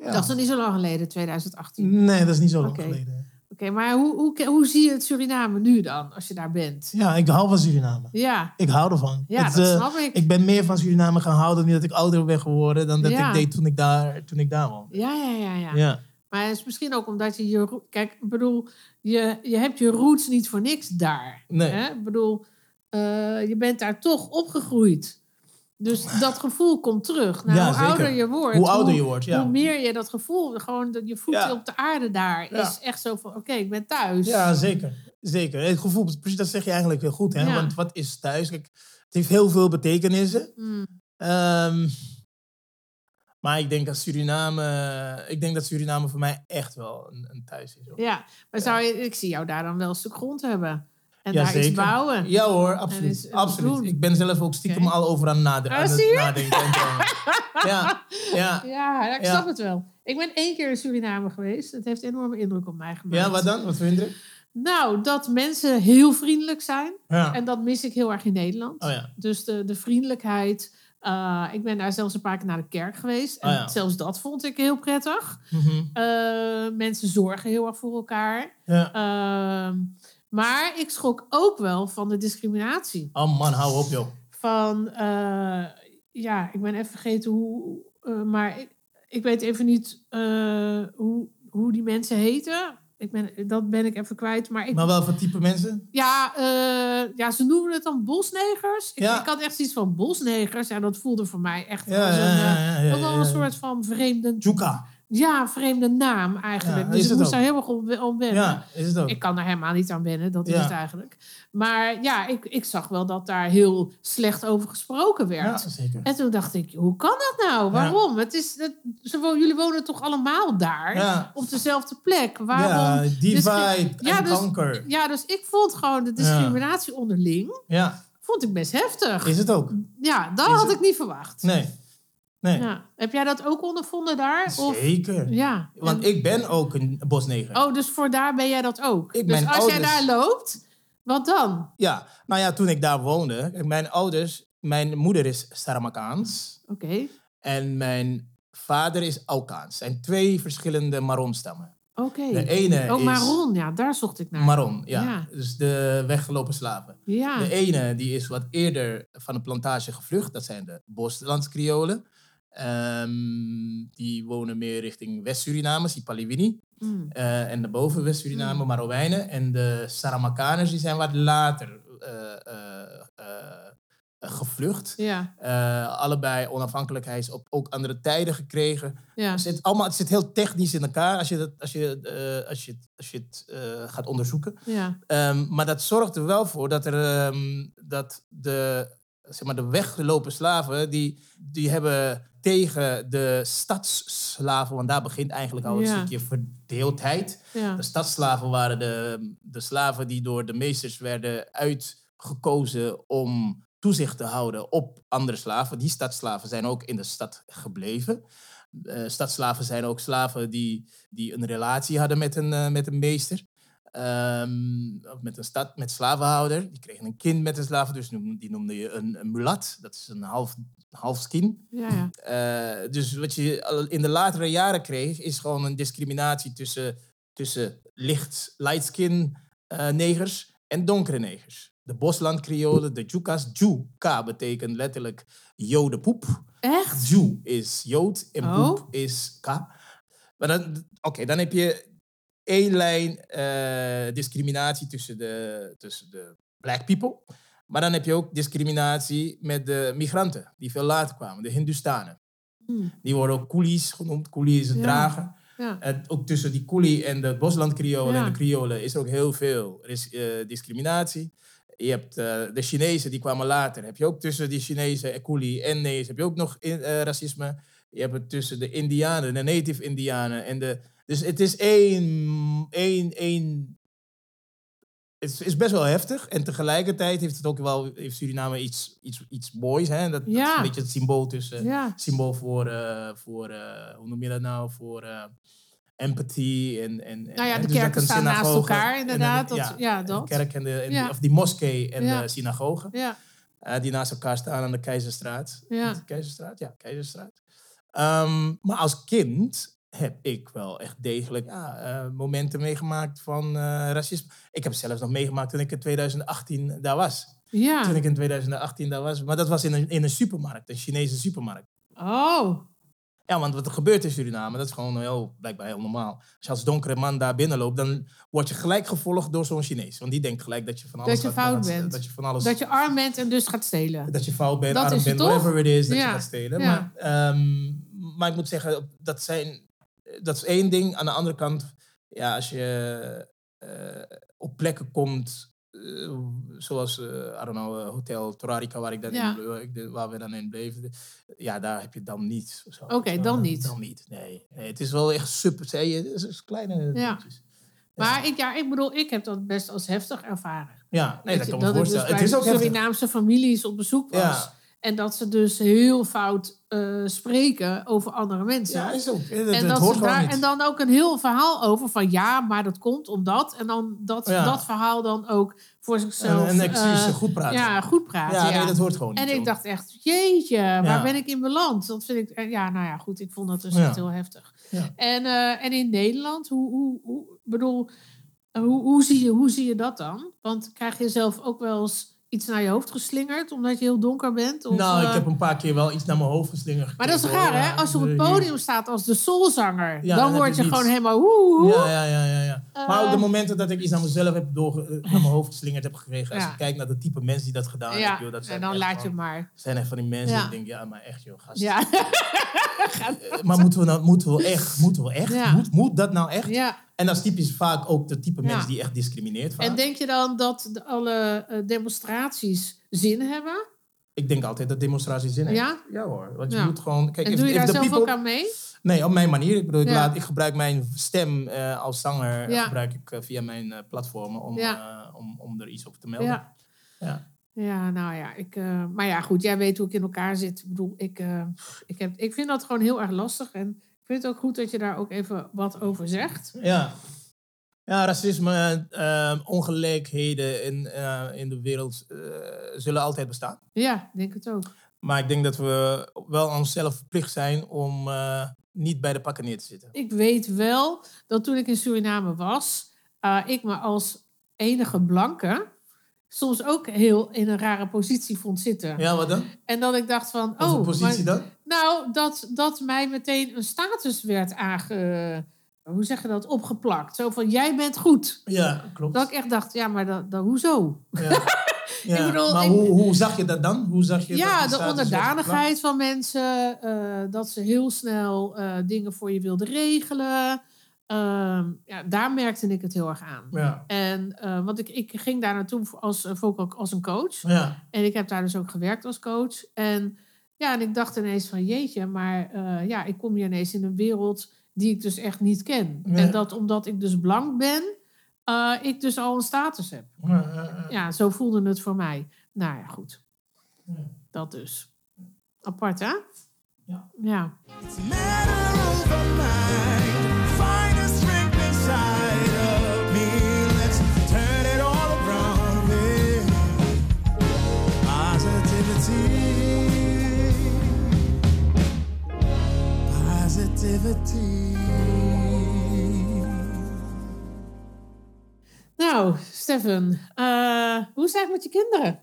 [SPEAKER 3] Ja.
[SPEAKER 6] Dat is nog niet zo lang geleden, 2018. Oké,
[SPEAKER 3] Nee, dat is niet zo lang
[SPEAKER 6] Oké.
[SPEAKER 3] geleden.
[SPEAKER 6] maar hoe, hoe, hoe zie je het Suriname nu dan, als je daar bent?
[SPEAKER 3] Ja, ik hou van Suriname.
[SPEAKER 6] Ja,
[SPEAKER 3] Ik hou ervan.
[SPEAKER 6] ja
[SPEAKER 3] Het,
[SPEAKER 6] dat
[SPEAKER 3] eh,
[SPEAKER 6] snap ik.
[SPEAKER 3] ik ben meer van Suriname gaan houden nu dat ik ouder ben geworden dan dat
[SPEAKER 6] Ja.
[SPEAKER 3] ik deed toen ik daar, toen ik daar woonde.
[SPEAKER 6] Ja, ja, ja, ja,
[SPEAKER 3] Ja.
[SPEAKER 6] Maar het is misschien ook omdat je je... ro- Kijk, ik bedoel, je, je hebt je roots niet voor niks daar.
[SPEAKER 3] Nee.
[SPEAKER 6] Hè? Ik bedoel, eh, je bent daar toch opgegroeid. Dus dat gevoel komt terug. Nou,
[SPEAKER 3] Ja,
[SPEAKER 6] hoe
[SPEAKER 3] zeker.
[SPEAKER 6] ouder je wordt,
[SPEAKER 3] Hoe ouder je wordt, ja.
[SPEAKER 6] hoe meer je dat gevoel, gewoon dat je voeten
[SPEAKER 3] Ja.
[SPEAKER 6] op de aarde daar,
[SPEAKER 3] Ja.
[SPEAKER 6] is echt zo van, oké, ik ben thuis.
[SPEAKER 3] Ja, zeker. Zeker. Het gevoel, precies dat zeg je eigenlijk heel goed. Hè?
[SPEAKER 6] Ja.
[SPEAKER 3] Want wat is thuis? Kijk, het heeft heel veel betekenissen.
[SPEAKER 6] Mm,
[SPEAKER 3] Ehm, maar ik denk dat Suriname, eh, ik denk dat Suriname voor mij echt wel een, een thuis is. hoor.
[SPEAKER 6] ja. maar zou je, ik zie jou daar dan wel een stuk grond hebben. En En
[SPEAKER 3] Ja,
[SPEAKER 6] daar iets
[SPEAKER 3] zeker.
[SPEAKER 6] bouwen.
[SPEAKER 3] Ja hoor, absoluut.
[SPEAKER 6] is- en
[SPEAKER 3] absoluut.
[SPEAKER 6] doen.
[SPEAKER 3] Ik ben zelf ook stiekem
[SPEAKER 6] Oké.
[SPEAKER 3] al over aan, het naden-
[SPEAKER 6] Ah,
[SPEAKER 3] aan
[SPEAKER 6] zie je?
[SPEAKER 3] het nadenken. en zo. ja, ja.
[SPEAKER 6] Ja, ja, ik
[SPEAKER 3] Ja.
[SPEAKER 6] snap het wel. Ik ben één keer in Suriname geweest. Dat heeft enorme indruk op mij gemaakt.
[SPEAKER 3] ja, wat dan? Wat vind je?
[SPEAKER 6] Nou, dat mensen heel vriendelijk zijn.
[SPEAKER 3] Ja.
[SPEAKER 6] En dat mis ik heel erg in Nederland.
[SPEAKER 3] Oh ja.
[SPEAKER 6] Dus de, de vriendelijkheid. Eh, ik ben daar zelfs een paar keer naar de kerk geweest. En
[SPEAKER 3] Oh ja.
[SPEAKER 6] zelfs dat vond ik heel prettig.
[SPEAKER 3] Mhm.
[SPEAKER 6] Eh, mensen zorgen heel erg voor elkaar.
[SPEAKER 3] ja.
[SPEAKER 6] Ehm, maar ik schrok ook wel van de discriminatie.
[SPEAKER 3] Oh man, hou op joh.
[SPEAKER 6] Van, eh, ja, ik ben even vergeten hoe... eh, maar ik, ik weet even niet eh, hoe, hoe die mensen heten. Ik ben, dat ben ik even kwijt. Maar ik
[SPEAKER 3] Maar wel voor type mensen?
[SPEAKER 6] ja, eh, ja, ze noemen het dan bosnegers. Ik,
[SPEAKER 3] Ja.
[SPEAKER 6] ik had echt iets van bosnegers. Ja, dat voelde voor mij echt
[SPEAKER 3] Ja,
[SPEAKER 6] als een,
[SPEAKER 3] ja, ja,
[SPEAKER 6] eh,
[SPEAKER 3] ja, ja,
[SPEAKER 6] ook wel
[SPEAKER 3] ja,
[SPEAKER 6] een
[SPEAKER 3] ja.
[SPEAKER 6] soort van vreemde,
[SPEAKER 3] Juka.
[SPEAKER 6] ja, vreemde naam eigenlijk.
[SPEAKER 3] Ja, is
[SPEAKER 6] dus ik
[SPEAKER 3] het
[SPEAKER 6] moest
[SPEAKER 3] ook.
[SPEAKER 6] daar heel erg om, om wennen.
[SPEAKER 3] Ja, is het ook.
[SPEAKER 6] Ik kan daar helemaal niet aan wennen, dat is
[SPEAKER 3] Ja.
[SPEAKER 6] het eigenlijk. Maar ja, ik, ik zag wel dat daar heel slecht over gesproken
[SPEAKER 3] Ja,
[SPEAKER 6] werd.
[SPEAKER 3] zeker.
[SPEAKER 6] En toen dacht ik, hoe kan dat nou? Waarom? Het is, het, ze, wo- jullie wonen toch allemaal daar?
[SPEAKER 3] Ja.
[SPEAKER 6] Op dezelfde plek? Waarom
[SPEAKER 3] Ja, divide
[SPEAKER 6] Ja,
[SPEAKER 3] en
[SPEAKER 6] dus-
[SPEAKER 3] conquer.
[SPEAKER 6] ja, dus ik vond gewoon de discriminatie onderling
[SPEAKER 3] Ja,
[SPEAKER 6] vond ik best heftig.
[SPEAKER 3] is het ook.
[SPEAKER 6] ja, dat
[SPEAKER 3] is
[SPEAKER 6] had
[SPEAKER 3] het-
[SPEAKER 6] ik niet verwacht.
[SPEAKER 3] Nee. Nee,
[SPEAKER 6] Ja. Heb jij dat ook ondervonden daar? Of,
[SPEAKER 3] zeker.
[SPEAKER 6] ja.
[SPEAKER 3] Want ik ben ook een bosneger.
[SPEAKER 6] Oh, dus voor daar ben jij dat ook.
[SPEAKER 3] Ik
[SPEAKER 6] dus
[SPEAKER 3] ben oh,
[SPEAKER 6] als jij
[SPEAKER 3] ouders.
[SPEAKER 6] daar loopt, wat dan?
[SPEAKER 3] Ja, nou ja, toen ik daar woonde, kijk, mijn ouders, mijn moeder is Saramakaans
[SPEAKER 6] Oké.
[SPEAKER 3] en mijn vader is Alkaans. zijn twee verschillende Maron-stammen.
[SPEAKER 6] Oké.
[SPEAKER 3] De ene
[SPEAKER 6] Oh,
[SPEAKER 3] is
[SPEAKER 6] Maron, ja, daar zocht ik naar.
[SPEAKER 3] Maron, ja.
[SPEAKER 6] Ja.
[SPEAKER 3] Dus de weggelopen slaven.
[SPEAKER 6] Ja.
[SPEAKER 3] De ene die is wat eerder van de plantage gevlucht, dat zijn de Boslandse Ehm die wonen meer richting West-Suriname, Sipaliwini.
[SPEAKER 6] Mm.
[SPEAKER 3] Eh, en daarboven West-Suriname, Marowijnen. En de Saramakaners die zijn wat later eh, eh, eh, gevlucht.
[SPEAKER 6] Ja,
[SPEAKER 3] Eh, allebei onafhankelijkheid op ook andere tijden gekregen.
[SPEAKER 6] ja.
[SPEAKER 3] Het zit, allemaal, het zit heel technisch in elkaar als je, dat, als je, eh, als je, het- als je het eh, gaat onderzoeken.
[SPEAKER 6] ja.
[SPEAKER 3] Ehm, maar dat zorgt er wel voor dat, er, ehm, dat de, zeg maar, de weggelopen slaven... Die, die hebben tegen de stadsslaven... want daar begint eigenlijk al een
[SPEAKER 6] Ja.
[SPEAKER 3] stukje verdeeldheid.
[SPEAKER 6] ja.
[SPEAKER 3] De stadsslaven waren de, de slaven die door de meesters werden uitgekozen... om toezicht te houden op andere slaven. Die stadsslaven zijn ook in de stad gebleven. Eh stadsslaven zijn ook slaven die, die een relatie hadden met een, eh, met een meester. Ehm, of met een stad, met slavenhouder. Die kregen een kind met een slaven, dus noem- die noemde je een, een mulat. Dat is een half, half skin.
[SPEAKER 6] Ja, ja.
[SPEAKER 3] Eh, dus wat je al in de latere jaren kreeg, is gewoon een discriminatie tussen, tussen licht, light skin eh, negers en donkere negers. De Bosland Creolen, de Jukas. Juka betekent letterlijk jodenpoep.
[SPEAKER 6] Echt?
[SPEAKER 3] Jew is Jood en
[SPEAKER 6] Oh.
[SPEAKER 3] poep is ka. Maar dan, oké, dan heb je één lijn eh, discriminatie tussen de, tussen de black people. Maar dan heb je ook discriminatie met de migranten die veel later kwamen, de Hindustanen.
[SPEAKER 6] Hm.
[SPEAKER 3] Die worden ook coolies genoemd. Coolie is het
[SPEAKER 6] Ja.
[SPEAKER 3] dragen.
[SPEAKER 6] Ja.
[SPEAKER 3] En ook tussen die coolie en de Bosland Creolen
[SPEAKER 6] Ja.
[SPEAKER 3] en de Creolen is er ook heel veel ris- eh, discriminatie. Je hebt eh, de Chinezen, die kwamen later. Heb je ook tussen die Chinezen en coolie en nees heb je ook nog in, eh, racisme. Je hebt het tussen de Indianen, de Native Indianen en de... Dus het is één... één, één het is- is best wel heftig en tegelijkertijd heeft het ook wel heeft Suriname iets, iets, iets moois. Hè? Dat, dat is
[SPEAKER 6] Ja.
[SPEAKER 3] een beetje het symbool tussen
[SPEAKER 6] Ja.
[SPEAKER 3] symbool voor, eh, voor eh, hoe noem je dat nou? Voor eh, empathy en, en en-
[SPEAKER 6] Nou ja,
[SPEAKER 3] en
[SPEAKER 6] de
[SPEAKER 3] dus dat
[SPEAKER 6] kerken
[SPEAKER 3] een
[SPEAKER 6] staan naast
[SPEAKER 3] synagoge
[SPEAKER 6] elkaar,
[SPEAKER 3] en een-
[SPEAKER 6] inderdaad. Dat- ja,
[SPEAKER 3] een
[SPEAKER 6] dat.
[SPEAKER 3] kerk en de, en die-
[SPEAKER 6] Ja.
[SPEAKER 3] of die moskee en
[SPEAKER 6] Ja.
[SPEAKER 3] de synagoge,
[SPEAKER 6] Ja,
[SPEAKER 3] eh, die naast elkaar staan aan de Keizerstraat.
[SPEAKER 6] Ja.
[SPEAKER 3] Is het Keizerstraat? Ja, Keizerstraat. Ehm, maar als kind heb ik wel echt degelijk ja, eh, momenten meegemaakt van eh, racisme. Ik heb zelfs nog meegemaakt toen ik in 2018 daar was. Toen
[SPEAKER 6] ja.
[SPEAKER 3] ik in 2018 daar was. Maar dat was in een, in een supermarkt, een Chinese supermarkt.
[SPEAKER 6] Oh,
[SPEAKER 3] Ja, want wat er gebeurt in Suriname, dat is gewoon heel, blijkbaar heel normaal. Als je als donkere man daar binnenloopt, dan word je gelijk gevolgd door zo'n Chinees. Want die denkt gelijk dat je van alles...
[SPEAKER 6] je
[SPEAKER 3] gaat-
[SPEAKER 6] fout
[SPEAKER 3] gaat-
[SPEAKER 6] bent.
[SPEAKER 3] Dat je van alles...
[SPEAKER 6] dat je arm bent en dus gaat stelen.
[SPEAKER 3] dat je fout bent,
[SPEAKER 6] Dat
[SPEAKER 3] arm
[SPEAKER 6] is het
[SPEAKER 3] bent,
[SPEAKER 6] toch?
[SPEAKER 3] whatever it is, dat
[SPEAKER 6] Ja,
[SPEAKER 3] je gaat stelen.
[SPEAKER 6] ja.
[SPEAKER 3] Maar, ehm, maar ik moet zeggen, dat, zijn, dat is één ding. Aan de andere kant, ja, als je eh, op plekken komt, eh, zoals, eh I don't know, eh, Hotel Torarica, waar, ik dan
[SPEAKER 6] Ja.
[SPEAKER 3] in, waar ik de- waar we dan in bleven. Ja, daar heb je dan niet. of zo.
[SPEAKER 6] Oké, dan niet.
[SPEAKER 3] Dan niet, nee. nee. eh, Het is wel echt super, zei je, het is kleine
[SPEAKER 6] Ja.
[SPEAKER 3] dingetjes.
[SPEAKER 6] Maar ik, ja, ik bedoel, ik heb dat best als heftig ervaren.
[SPEAKER 3] Ja, nee,
[SPEAKER 6] Weet
[SPEAKER 3] dat
[SPEAKER 6] je,
[SPEAKER 3] kan ik me
[SPEAKER 6] ik dus
[SPEAKER 3] voorstellen.
[SPEAKER 6] bij
[SPEAKER 3] het is ook heftig.
[SPEAKER 6] Surinaamse families op bezoek was.
[SPEAKER 3] Ja.
[SPEAKER 6] En dat ze dus heel fout eh, spreken over andere mensen.
[SPEAKER 3] Ja, is ook. Het,
[SPEAKER 6] en,
[SPEAKER 3] het
[SPEAKER 6] dat
[SPEAKER 3] hoort
[SPEAKER 6] ze
[SPEAKER 3] gewoon
[SPEAKER 6] daar-
[SPEAKER 3] niet.
[SPEAKER 6] en dan ook een heel verhaal over van ja, maar dat komt omdat. En dan dat,
[SPEAKER 3] Ja.
[SPEAKER 6] dat verhaal dan ook voor zichzelf.
[SPEAKER 3] een, een excuus,
[SPEAKER 6] eh,
[SPEAKER 3] goed praten.
[SPEAKER 6] ja, goed praten.
[SPEAKER 3] Ja,
[SPEAKER 6] Ja,
[SPEAKER 3] nee, dat hoort gewoon niet.
[SPEAKER 6] En ik
[SPEAKER 3] joh.
[SPEAKER 6] dacht echt, jeetje, waar ben ik in beland? Dat vind ik, eh, ja, nou ja, goed, ik vond dat dus
[SPEAKER 3] Ja.
[SPEAKER 6] echt heel heftig.
[SPEAKER 3] Ja.
[SPEAKER 6] En, eh, en in Nederland, hoe, hoe, hoe bedoel, eh, hoe, hoe, zie je, hoe zie je dat dan? Want krijg je zelf ook wel eens iets naar je hoofd geslingerd, omdat je heel donker bent? Of,
[SPEAKER 3] nou,
[SPEAKER 6] eh,
[SPEAKER 3] ik heb een paar keer wel iets naar mijn hoofd geslingerd.
[SPEAKER 6] maar dat is
[SPEAKER 3] gekregen,
[SPEAKER 6] raar,
[SPEAKER 3] hoor.
[SPEAKER 6] hè? Als je op het
[SPEAKER 3] Ja,
[SPEAKER 6] podium staat als de soulzanger,
[SPEAKER 3] Ja,
[SPEAKER 6] dan
[SPEAKER 3] dan
[SPEAKER 6] word
[SPEAKER 3] heb
[SPEAKER 6] je
[SPEAKER 3] je
[SPEAKER 6] gewoon
[SPEAKER 3] niets.
[SPEAKER 6] helemaal woe, woe.
[SPEAKER 3] Ja, ja, ja, ja. ja. maar ook de
[SPEAKER 6] Eh.
[SPEAKER 3] momenten dat ik iets naar mezelf heb doorge, eh, naar mijn hoofd geslingerd heb gekregen. Als
[SPEAKER 6] Ja.
[SPEAKER 3] je kijkt naar de type mensen die dat
[SPEAKER 6] Ja,
[SPEAKER 3] gedaan hebben. Joh, dat
[SPEAKER 6] en
[SPEAKER 3] zijn
[SPEAKER 6] dan
[SPEAKER 3] echt
[SPEAKER 6] laat
[SPEAKER 3] van-
[SPEAKER 6] je maar.
[SPEAKER 3] zijn echt van die mensen
[SPEAKER 6] Ja.
[SPEAKER 3] die denken, ja, maar echt joh, gast.
[SPEAKER 6] Ja,
[SPEAKER 3] Eh, Maar moeten we, nou, moeten we echt? Moeten we echt?
[SPEAKER 6] Ja.
[SPEAKER 3] Moet, moet dat nou echt?
[SPEAKER 6] ja.
[SPEAKER 3] En dat is typisch vaak ook de type
[SPEAKER 6] Ja.
[SPEAKER 3] mensen die echt discrimineert. Vaak.
[SPEAKER 6] En denk je dan dat de- alle eh, demonstraties zin hebben?
[SPEAKER 3] ik denk altijd dat demonstratie zin heeft.
[SPEAKER 6] Ja?
[SPEAKER 3] hoor. Want je
[SPEAKER 6] Ja.
[SPEAKER 3] moet gewoon... Kijk,
[SPEAKER 6] En
[SPEAKER 3] if-
[SPEAKER 6] doe je
[SPEAKER 3] if
[SPEAKER 6] daar
[SPEAKER 3] the
[SPEAKER 6] zelf
[SPEAKER 3] people-
[SPEAKER 6] ook aan mee?
[SPEAKER 3] Nee, op mijn manier. Ik bedoel, ik,
[SPEAKER 6] Ja.
[SPEAKER 3] laat, ik gebruik mijn stem eh, als zanger eh,
[SPEAKER 6] Ja.
[SPEAKER 3] gebruik ik, eh, via mijn eh, platformen om,
[SPEAKER 6] Ja.
[SPEAKER 3] eh, om, om er iets op te melden.
[SPEAKER 6] Ja.
[SPEAKER 3] Ja.
[SPEAKER 6] Ja, nou ja. Ik, eh, maar ja, goed. Jij weet hoe ik in elkaar zit. Ik bedoel, ik, eh, ik, heb, ik vind dat gewoon heel erg lastig. En ik vind het ook goed dat je daar ook even wat over zegt.
[SPEAKER 3] Ja, ja racisme, eh, ongelijkheden in, eh, in de wereld eh, zullen altijd bestaan.
[SPEAKER 6] Ja, ik denk het ook.
[SPEAKER 3] Maar ik denk dat we wel aan onszelf verplicht zijn om eh, niet bij de pakken neer te zitten.
[SPEAKER 6] Ik weet wel dat toen ik in Suriname was, eh, ik me als enige blanke soms ook heel in een rare positie vond zitten.
[SPEAKER 3] Ja, wat dan?
[SPEAKER 6] En dat ik dacht van,
[SPEAKER 3] Wat voor
[SPEAKER 6] oh,
[SPEAKER 3] positie
[SPEAKER 6] maar-
[SPEAKER 3] dan?
[SPEAKER 6] nou, dat, dat mij meteen een status werd aange... Hoe zeg je dat? Opgeplakt. Zo van, jij bent goed.
[SPEAKER 3] Ja, klopt.
[SPEAKER 6] Dat ik echt dacht, ja, maar dat, dat, hoezo?
[SPEAKER 3] Ja. Ja.
[SPEAKER 6] bedoel,
[SPEAKER 3] maar
[SPEAKER 6] ik-
[SPEAKER 3] hoe, hoe zag je dat dan? Hoe zag je
[SPEAKER 6] Ja,
[SPEAKER 3] dat die
[SPEAKER 6] de
[SPEAKER 3] status werd
[SPEAKER 6] onderdanigheid van mensen. eh, dat ze heel snel eh, dingen voor je wilden regelen. Ehm, ja, daar merkte ik het heel erg aan.
[SPEAKER 3] geplakt?
[SPEAKER 6] En, eh, want ik, ik ging daar naartoe als, eh, vooral ook als een coach.
[SPEAKER 3] Ja, ja.
[SPEAKER 6] En ik heb daar dus ook gewerkt als coach. En, ja, en ik dacht ineens van jeetje, maar eh, ja, ik kom hier ineens in een wereld die ik dus echt niet ken.
[SPEAKER 3] Ja.
[SPEAKER 6] En dat omdat ik dus blank ben, eh, ik dus al een status heb.
[SPEAKER 3] Ja, ja, ja.
[SPEAKER 6] Ja, zo voelde het voor mij. Nou ja, goed.
[SPEAKER 3] Ja.
[SPEAKER 6] Dat dus. Apart, hè?
[SPEAKER 3] Ja.
[SPEAKER 6] Ja.
[SPEAKER 2] It's matter over mind. Find the strength inside of me. Let's turn it all around with positivity. Positivity.
[SPEAKER 6] Nou, Stefan, eh, hoe is het eigenlijk met je kinderen?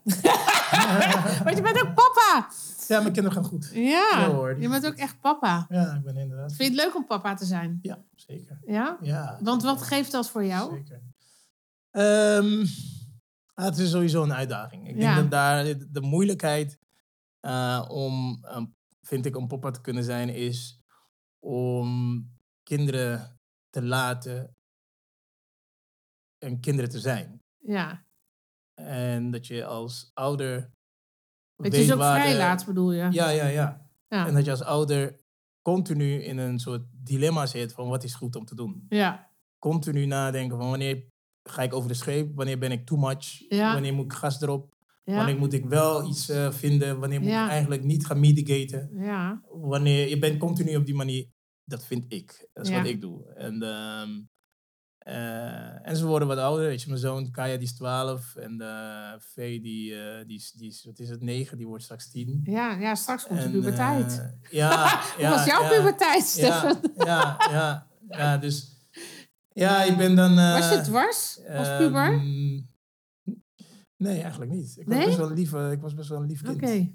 [SPEAKER 6] Want je bent ook papa.
[SPEAKER 3] Ja, mijn kinderen gaan goed.
[SPEAKER 6] Ja,
[SPEAKER 3] Ja, hoor, die
[SPEAKER 6] je
[SPEAKER 3] is
[SPEAKER 6] bent
[SPEAKER 3] goed.
[SPEAKER 6] ook echt papa.
[SPEAKER 3] Ja, ik ben inderdaad.
[SPEAKER 6] Vind je het leuk om papa te zijn?
[SPEAKER 3] Ja, zeker.
[SPEAKER 6] Ja?
[SPEAKER 3] Ja,
[SPEAKER 6] Want wat geeft dat voor jou?
[SPEAKER 3] zeker. Ehm, ah, het is sowieso een uitdaging. Ik
[SPEAKER 6] Ja.
[SPEAKER 3] denk dat daar de moeilijkheid eh, om, ehm, vind ik, om papa te kunnen zijn, is om kinderen te laten en kinderen te zijn.
[SPEAKER 6] Ja.
[SPEAKER 3] En dat je als ouder.
[SPEAKER 6] Het
[SPEAKER 3] weet
[SPEAKER 6] is ook
[SPEAKER 3] waar
[SPEAKER 6] vrij
[SPEAKER 3] de-
[SPEAKER 6] laat, bedoel je?
[SPEAKER 3] Ja, ja, ja. En
[SPEAKER 6] Ja.
[SPEAKER 3] dat je als ouder continu in een soort dilemma zit van wat is goed om te doen.
[SPEAKER 6] Ja.
[SPEAKER 3] Continu nadenken van wanneer ga ik over de scheep, wanneer ben ik too much,
[SPEAKER 6] Ja.
[SPEAKER 3] wanneer moet ik gas erop,
[SPEAKER 6] Ja.
[SPEAKER 3] wanneer moet ik wel iets eh, vinden, wanneer moet
[SPEAKER 6] Ja.
[SPEAKER 3] ik eigenlijk niet gaan mitigaten.
[SPEAKER 6] Ja.
[SPEAKER 3] Wanneer je bent continu op die manier, dat vind ik. Dat is
[SPEAKER 6] Ja.
[SPEAKER 3] wat ik doe. En, ehm, eh, en ze worden wat ouder. Weet je, mijn zoon Kaya die is 12 en eh Vee die, eh, die, is- die is, wat is het, 9, die wordt straks 10.
[SPEAKER 6] Ja, ja, straks komt de
[SPEAKER 3] En,
[SPEAKER 6] puberteit.
[SPEAKER 3] eh, ja,
[SPEAKER 6] Hoe
[SPEAKER 3] ja,
[SPEAKER 6] was jouw
[SPEAKER 3] ja,
[SPEAKER 6] puberteit, Stefan?
[SPEAKER 3] Ja, ja, ja, ja, dus... Ja, ik ben dan... eh,
[SPEAKER 6] Was je dwars als
[SPEAKER 3] ehm,
[SPEAKER 6] puber?
[SPEAKER 3] nee, eigenlijk niet. Ik was,
[SPEAKER 6] Nee?
[SPEAKER 3] best wel een lief, eh, ik was best wel een lief
[SPEAKER 6] Oké,
[SPEAKER 3] kind.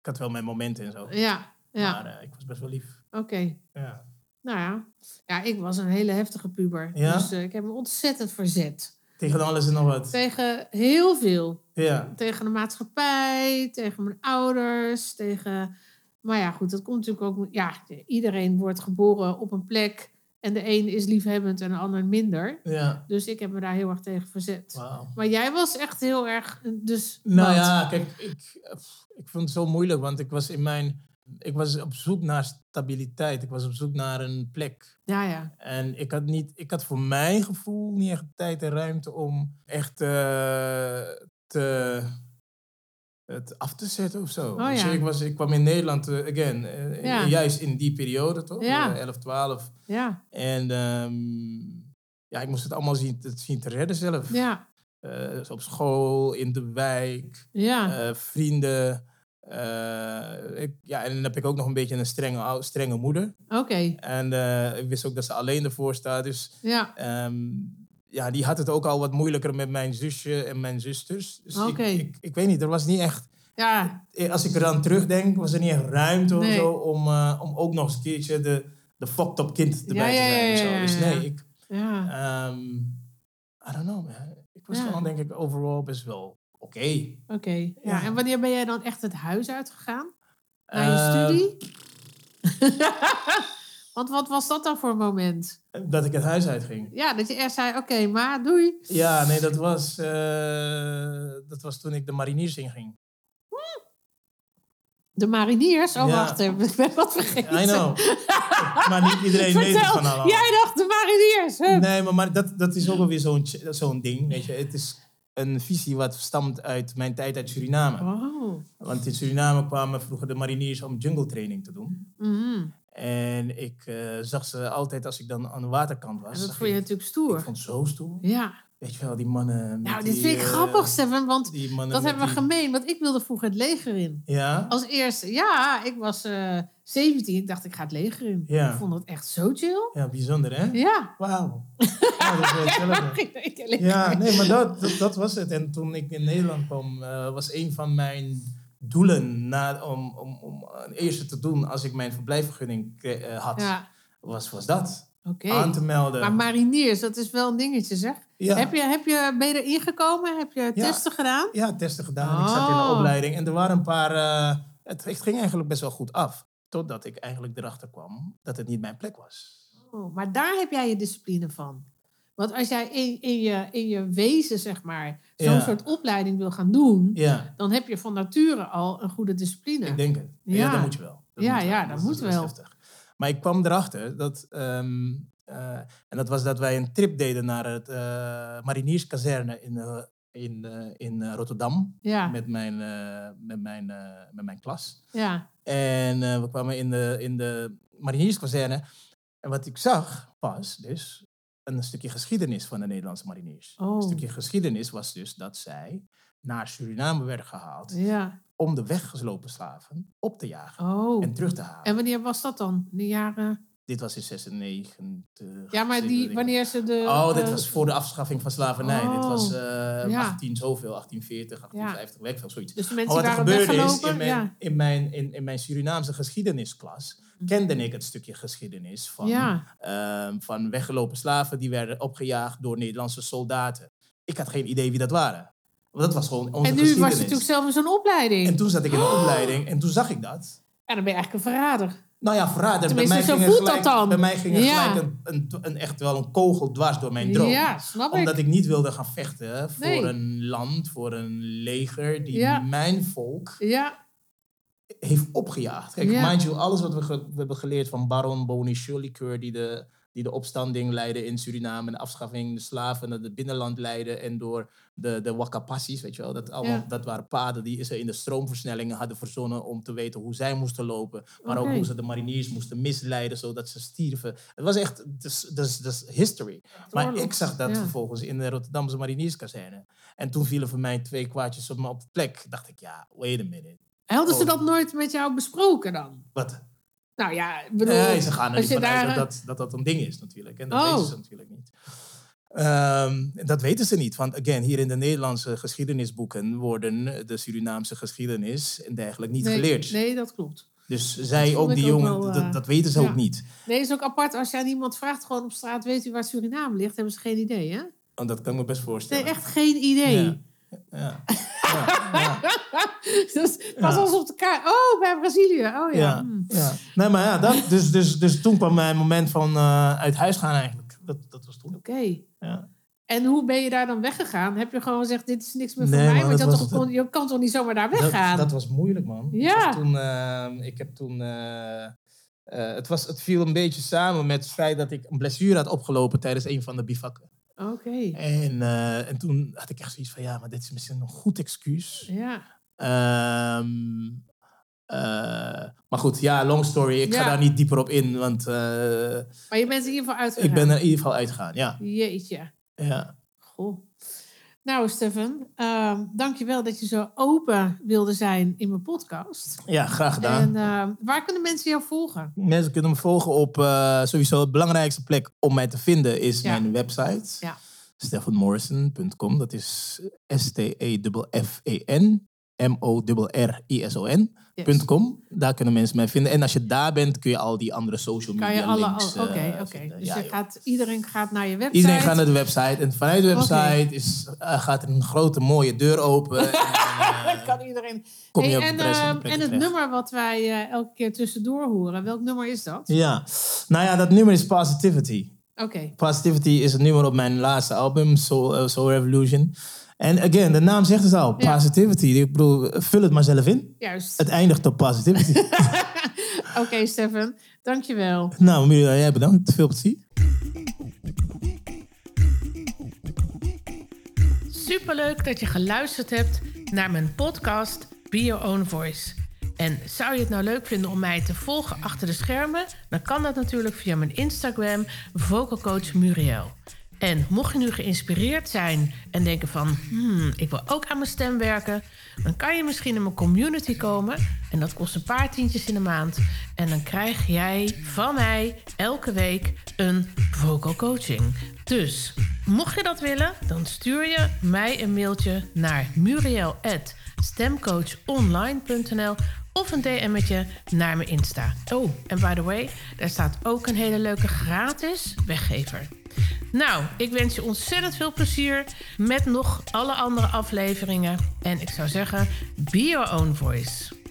[SPEAKER 3] Ik had wel mijn momenten en zo.
[SPEAKER 6] ja, ja,
[SPEAKER 3] Maar eh, ik was best wel lief.
[SPEAKER 6] oké.
[SPEAKER 3] Ja.
[SPEAKER 6] Nou ja. ja, ik was een hele heftige puber.
[SPEAKER 3] Ja?
[SPEAKER 6] Dus eh, ik heb me ontzettend verzet.
[SPEAKER 3] Tegen alles en nog wat.
[SPEAKER 6] Tegen heel veel.
[SPEAKER 3] Ja,
[SPEAKER 6] Tegen de maatschappij, tegen mijn ouders, tegen... Maar ja, goed, dat komt natuurlijk ook... Ja, iedereen wordt geboren op een plek. En de een is liefhebbend en de ander minder.
[SPEAKER 3] ja.
[SPEAKER 6] Dus ik heb me daar heel erg tegen verzet.
[SPEAKER 3] Wauw.
[SPEAKER 6] Maar jij was echt heel erg... Dus
[SPEAKER 3] Nou
[SPEAKER 6] wat?
[SPEAKER 3] ja, kijk, ik, pff, ik vond het zo moeilijk, want ik was in mijn Ik was op zoek naar stabiliteit. Ik was op zoek naar een plek.
[SPEAKER 6] Ja, ja.
[SPEAKER 3] En ik had, niet, ik had voor mijn gevoel niet echt tijd en ruimte om echt eh, te, het af te zetten of zo.
[SPEAKER 6] Oh
[SPEAKER 3] Dus
[SPEAKER 6] ja.
[SPEAKER 3] ik, was, ik kwam in Nederland, eh, again, eh,
[SPEAKER 6] Ja.
[SPEAKER 3] juist in die periode toch?
[SPEAKER 6] Ja.
[SPEAKER 3] Eh, 11, 12.
[SPEAKER 6] Ja,
[SPEAKER 3] En ehm, ja, ik moest het allemaal zien, te- zien te redden zelf.
[SPEAKER 6] ja,
[SPEAKER 3] Eh, dus op school, in de wijk.
[SPEAKER 6] ja.
[SPEAKER 3] Eh, vrienden. eh, ik, ja, en dan heb ik ook nog een beetje een strenge, ou- strenge moeder.
[SPEAKER 6] Oké.
[SPEAKER 3] En eh, ik wist ook dat ze alleen ervoor staat. Dus
[SPEAKER 6] Ja,
[SPEAKER 3] ehm, ja, die had het ook al wat moeilijker met mijn zusje en mijn zusters. Dus ik-
[SPEAKER 6] Oké.
[SPEAKER 3] ik, ik, weet niet, er was niet echt...
[SPEAKER 6] ja,
[SPEAKER 3] eh, Als ik eraan terugdenk, was er niet echt ruimte of
[SPEAKER 6] Nee.
[SPEAKER 3] zo om, eh, om ook nog eens een keertje de, de fucked up kind erbij
[SPEAKER 6] Ja, ja,
[SPEAKER 3] te
[SPEAKER 6] ja, ja,
[SPEAKER 3] zijn. of zo.
[SPEAKER 6] ja,
[SPEAKER 3] Dus
[SPEAKER 6] ja.
[SPEAKER 3] nee, ik...
[SPEAKER 6] ja.
[SPEAKER 3] ehm, I don't know, man. Ik was
[SPEAKER 6] Ja.
[SPEAKER 3] gewoon, denk ik, overal best wel oké.
[SPEAKER 6] Oké. Ja.
[SPEAKER 3] Ja.
[SPEAKER 6] En wanneer ben jij dan echt het huis uitgegaan? Naar je
[SPEAKER 3] Eh,
[SPEAKER 6] studie? Want wat was dat dan voor een moment?
[SPEAKER 3] Dat ik het huis uitging.
[SPEAKER 6] Ja, dat je echt zei, oké, maar doei.
[SPEAKER 3] Ja, nee, dat was, eh, dat was toen ik de mariniers inging.
[SPEAKER 6] De mariniers? Oh,
[SPEAKER 3] Ja.
[SPEAKER 6] wacht even. Ik ben wat vergeten.
[SPEAKER 3] I know. maar niet iedereen weet het
[SPEAKER 6] Vertel,
[SPEAKER 3] van allemaal.
[SPEAKER 6] jij dacht de mariniers. Hup.
[SPEAKER 3] Nee, maar, maar dat, dat is ook alweer zo'n ch- zo'n ding, weet je. Het is een visie wat stamt uit mijn tijd uit Suriname.
[SPEAKER 6] Oh.
[SPEAKER 3] Want in Suriname kwamen vroeger de mariniers om jungle training te doen.
[SPEAKER 6] Mhm.
[SPEAKER 3] En ik eh, zag ze altijd als ik dan aan de waterkant was.
[SPEAKER 6] En dat
[SPEAKER 3] zag
[SPEAKER 6] vond je
[SPEAKER 3] ik-
[SPEAKER 6] natuurlijk
[SPEAKER 3] Ik
[SPEAKER 6] stoer.
[SPEAKER 3] vond het zo stoer.
[SPEAKER 6] Ja.
[SPEAKER 3] Weet je wel, die mannen... met
[SPEAKER 6] Nou, dit
[SPEAKER 3] die,
[SPEAKER 6] vind ik
[SPEAKER 3] eh,
[SPEAKER 6] grappig, Steven, want
[SPEAKER 3] Die mannen
[SPEAKER 6] dat
[SPEAKER 3] met
[SPEAKER 6] hebben we
[SPEAKER 3] die-
[SPEAKER 6] gemeen. Want ik wilde vroeger het leger in.
[SPEAKER 3] Ja?
[SPEAKER 6] Als eerste, ja, ik was eh 17. Ik dacht, ik ga het leger in.
[SPEAKER 3] Ja.
[SPEAKER 6] Ik vond dat echt zo chill.
[SPEAKER 3] Ja, bijzonder, hè?
[SPEAKER 6] Ja,
[SPEAKER 3] Wauw. Ja, dat is wel hetzelfde.
[SPEAKER 6] ik ik- ik-
[SPEAKER 3] Ja, nee, maar dat, dat, dat was het. En toen ik in Nederland kwam, eh, was een van mijn doelen na, om, om, om een eerste te doen als ik mijn verblijfvergunning kre- eh, had,
[SPEAKER 6] Ja,
[SPEAKER 3] was, was dat.
[SPEAKER 6] oké.
[SPEAKER 3] Aan te melden.
[SPEAKER 6] Maar mariniers, dat is wel een dingetje, zeg.
[SPEAKER 3] ja,
[SPEAKER 6] Heb, je, heb je, ben je erin gekomen? Heb je testen gedaan?
[SPEAKER 3] ja, testen gedaan. Ik zat in de
[SPEAKER 6] Oh.
[SPEAKER 3] opleiding. En er waren een paar... eh, het, het ging eigenlijk best wel goed af. Totdat ik eigenlijk erachter kwam dat het niet mijn plek was.
[SPEAKER 6] Oh, maar daar heb jij je discipline van. Want als jij in, in, je, in je wezen, zeg maar, zo'n
[SPEAKER 3] Ja.
[SPEAKER 6] soort opleiding wil gaan doen,
[SPEAKER 3] Ja,
[SPEAKER 6] dan heb je van nature al een goede discipline.
[SPEAKER 3] ik denk het. Ja,
[SPEAKER 6] Ja.
[SPEAKER 3] dat moet je wel.
[SPEAKER 6] Ja, ja, dat moet
[SPEAKER 3] is
[SPEAKER 6] wel.
[SPEAKER 3] heftig. Maar ik kwam erachter dat... ehm, eh, en dat was dat wij een trip deden naar het eh, Marinierskazerne in, eh, in, eh, in eh, Rotterdam.
[SPEAKER 6] ja,
[SPEAKER 3] Met, mijn, eh, met, mijn, eh, met mijn klas.
[SPEAKER 6] ja,
[SPEAKER 3] En eh, we kwamen in de, in de Marinierskazerne. En wat ik zag was dus een stukje geschiedenis van de Nederlandse mariniers.
[SPEAKER 6] Oh.
[SPEAKER 3] Een stukje geschiedenis was dus dat zij naar Suriname werden gehaald...
[SPEAKER 6] ja.
[SPEAKER 3] om de weggeslopen slaven op te jagen
[SPEAKER 6] Oh.
[SPEAKER 3] en terug te halen.
[SPEAKER 6] En wanneer was dat dan? In de jaren.
[SPEAKER 3] Dit was in 96.
[SPEAKER 6] Ja, maar die,
[SPEAKER 3] 97.
[SPEAKER 6] wanneer ze de.
[SPEAKER 3] Oh, dit
[SPEAKER 6] eh,
[SPEAKER 3] was voor de afschaffing van slavernij. Dit was eh,
[SPEAKER 6] ja.
[SPEAKER 3] 18 zoveel, 1840, 1850, weet ik veel, zoiets.
[SPEAKER 6] Dus de
[SPEAKER 3] Maar
[SPEAKER 6] mensen
[SPEAKER 3] Oh, wat er
[SPEAKER 6] waren
[SPEAKER 3] gebeurde is,
[SPEAKER 6] weggelopen.
[SPEAKER 3] in mijn,
[SPEAKER 6] ja. Mhm.
[SPEAKER 3] in, mijn, in, in mijn Surinaamse geschiedenisklas kende ik het stukje geschiedenis van,
[SPEAKER 6] ja,
[SPEAKER 3] ehm, van weggelopen slaven die werden opgejaagd door Nederlandse soldaten. Ik had geen idee wie dat waren. Want dat was gewoon onze
[SPEAKER 6] en nu was
[SPEAKER 3] geschiedenis.
[SPEAKER 6] je natuurlijk zelf in zo'n opleiding.
[SPEAKER 3] En toen zat ik in de opleiding en toen zag ik dat.
[SPEAKER 6] Ja, dan ben je eigenlijk een verrader.
[SPEAKER 3] Nou ja, verrader. Bij
[SPEAKER 6] Tenminste,
[SPEAKER 3] mij,
[SPEAKER 6] zo
[SPEAKER 3] ging er
[SPEAKER 6] voelt dat
[SPEAKER 3] gelijk,
[SPEAKER 6] dan.
[SPEAKER 3] bij mij ging er
[SPEAKER 6] Ja.
[SPEAKER 3] gelijk een, een, een- echt wel een kogel dwars door mijn droom.
[SPEAKER 6] Ja, snap ik.
[SPEAKER 3] Omdat ik niet wilde gaan vechten voor
[SPEAKER 6] Nee.
[SPEAKER 3] een land, voor een leger die
[SPEAKER 6] Ja.
[SPEAKER 3] mijn volk
[SPEAKER 6] Ja,
[SPEAKER 3] heeft opgejaagd. Kijk,
[SPEAKER 6] Ja.
[SPEAKER 3] mind you, alles wat we, ge- we hebben geleerd van Baron Boni Shirley die de, die de opstanding leidde in Suriname, en de afschaffing, de slaven naar het binnenland leidde en door de, de Wakapassies, weet je wel, dat, allemaal,
[SPEAKER 6] Ja.
[SPEAKER 3] dat waren paden die ze in de stroomversnellingen hadden verzonnen om te weten hoe zij moesten lopen, maar
[SPEAKER 6] Oké.
[SPEAKER 3] ook hoe ze de mariniers moesten misleiden zodat ze stierven. Het was echt, dus, dus, dus history. Maar
[SPEAKER 6] oorlog,
[SPEAKER 3] ik zag dat
[SPEAKER 6] ja.
[SPEAKER 3] vervolgens in de Rotterdamse marinierskazerne. En toen vielen voor mij twee kwaadjes op, me op de plek. Dacht ik, ja, wait a minute.
[SPEAKER 6] hadden ze
[SPEAKER 3] Oh.
[SPEAKER 6] dat nooit met jou besproken dan?
[SPEAKER 3] Wat?
[SPEAKER 6] Nou ja, ik bedoel,
[SPEAKER 3] Nee, ze gaan er
[SPEAKER 6] als
[SPEAKER 3] niet
[SPEAKER 6] je
[SPEAKER 3] vanuit
[SPEAKER 6] daar... eh,
[SPEAKER 3] dat, dat, dat dat een ding is natuurlijk. En dat
[SPEAKER 6] Oh.
[SPEAKER 3] weten ze natuurlijk niet. Ehm, en dat weten ze niet. Want again, hier in de Nederlandse geschiedenisboeken worden de Surinaamse geschiedenis en dergelijke niet
[SPEAKER 6] nee,
[SPEAKER 3] geleerd.
[SPEAKER 6] Nee, dat klopt.
[SPEAKER 3] Dus zij
[SPEAKER 6] vond
[SPEAKER 3] ook, die
[SPEAKER 6] ik ook
[SPEAKER 3] jongen,
[SPEAKER 6] wel, eh,
[SPEAKER 3] dat, dat weten ze
[SPEAKER 6] ja.
[SPEAKER 3] ook niet.
[SPEAKER 6] Nee, is ook apart. Als jij aan iemand vraagt gewoon op straat, weet u waar Suriname ligt? Hebben ze geen idee, hè?
[SPEAKER 3] Want dat kan ik me best
[SPEAKER 6] Nee,
[SPEAKER 3] voorstellen.
[SPEAKER 6] echt geen idee.
[SPEAKER 3] Ja. Ja. Ja. Ja.
[SPEAKER 6] Dus het was
[SPEAKER 3] Ja.
[SPEAKER 6] alsof de kaart... Oh, bij Brazilië. Oh ja.
[SPEAKER 3] Ja.
[SPEAKER 6] Hm.
[SPEAKER 3] ja. Nee, maar ja, dat, dus, dus, dus toen kwam mijn moment van eh, uit huis gaan eigenlijk. Dat, dat was toen.
[SPEAKER 6] Oké.
[SPEAKER 3] Ja.
[SPEAKER 7] En hoe ben je daar dan weggegaan? Heb je gewoon gezegd, dit is niks meer
[SPEAKER 3] Nee,
[SPEAKER 7] voor mij?
[SPEAKER 3] man,
[SPEAKER 7] Want je,
[SPEAKER 3] dat
[SPEAKER 7] had
[SPEAKER 3] was
[SPEAKER 7] toch,
[SPEAKER 3] het-
[SPEAKER 7] kon- je kan toch niet zomaar daar
[SPEAKER 3] Dat,
[SPEAKER 7] weggaan?
[SPEAKER 3] dat was moeilijk, man. Ik
[SPEAKER 7] Ja.
[SPEAKER 3] was toen, eh, ik heb toen. eh, eh, het, was, het viel een beetje samen met het feit dat ik een blessure had opgelopen tijdens een van de bivakken.
[SPEAKER 7] Oké,
[SPEAKER 3] En, eh, en toen had ik echt zoiets van: ja, maar dit is misschien een goed excuus.
[SPEAKER 7] ja.
[SPEAKER 3] Ehm, eh, maar goed, ja, long story. Ik
[SPEAKER 7] Ja.
[SPEAKER 3] ga daar niet dieper op in, want eh,
[SPEAKER 7] Maar je bent in ieder geval uitgegaan.
[SPEAKER 3] ik ben er in ieder geval uitgegaan. Ja,
[SPEAKER 7] Jeetje.
[SPEAKER 3] ja.
[SPEAKER 7] Goh. Nou, Stefan, ehm dankjewel dat je zo open wilde zijn in mijn podcast.
[SPEAKER 3] ja graag gedaan.
[SPEAKER 7] En ehm, waar kunnen mensen jou volgen?
[SPEAKER 3] Mensen kunnen me volgen op eh, sowieso de belangrijkste plek om mij te vinden is
[SPEAKER 7] Ja.
[SPEAKER 3] mijn website.
[SPEAKER 7] Ja.
[SPEAKER 3] StefanMorrison.com. Dat is E S-T-E-F-F-E-N. M-O-R-R-I-S-O-N.
[SPEAKER 7] Yes.
[SPEAKER 3] punt .com. Daar kunnen mensen mij vinden. En als je daar bent, kun je al die andere social media
[SPEAKER 7] Kan je alle...
[SPEAKER 3] links
[SPEAKER 7] Oké,
[SPEAKER 3] eh,
[SPEAKER 7] oké.
[SPEAKER 3] vinden.
[SPEAKER 7] Dus
[SPEAKER 3] Ja,
[SPEAKER 7] je
[SPEAKER 3] joh.
[SPEAKER 7] gaat, iedereen gaat naar je website.
[SPEAKER 3] Iedereen gaat naar de website. En vanuit de
[SPEAKER 7] Oké.
[SPEAKER 3] website is, eh, gaat er een grote mooie deur open. en, eh,
[SPEAKER 7] Dan kan iedereen...
[SPEAKER 3] kom je
[SPEAKER 7] Hey,
[SPEAKER 3] op de
[SPEAKER 7] en,
[SPEAKER 3] rest van de
[SPEAKER 7] ehm,
[SPEAKER 3] plek
[SPEAKER 7] en het
[SPEAKER 3] terecht.
[SPEAKER 7] nummer wat wij eh, elke keer tussendoor horen, welk nummer is dat?
[SPEAKER 3] Ja. Nou ja, dat nummer is Positivity.
[SPEAKER 7] Oké,
[SPEAKER 3] Positivity is het nummer op mijn laatste album, Soul, eh, Soul Revolution. En again, de naam zegt het al,
[SPEAKER 7] Ja.
[SPEAKER 3] Positivity. Ik bedoel, vul het maar zelf in.
[SPEAKER 7] juist.
[SPEAKER 3] Het eindigt op Positivity.
[SPEAKER 7] Oké, Stefan, dankjewel.
[SPEAKER 3] nou, Mira, jij bedankt. Veel plezier.
[SPEAKER 6] Superleuk dat je geluisterd hebt naar mijn podcast Be Your Own Voice. En zou je het nou leuk vinden om mij te volgen achter de schermen? Dan kan dat natuurlijk via mijn Instagram, Vocal Coach Muriel. En mocht je nu geïnspireerd zijn en denken van... Hmm, ik wil ook aan mijn stem werken... dan kan je misschien in mijn community komen. En dat kost een paar tientjes in de maand. En dan krijg jij van mij elke week een vocal coaching. Dus mocht je dat willen, dan stuur je mij een mailtje naar muriel.stemcoachonline.nl of een DM'tje naar mijn Insta. Oh, en by the way, daar staat ook een hele leuke gratis weggever. Nou, ik wens je ontzettend veel plezier met nog alle andere afleveringen. En ik zou zeggen, be your own voice.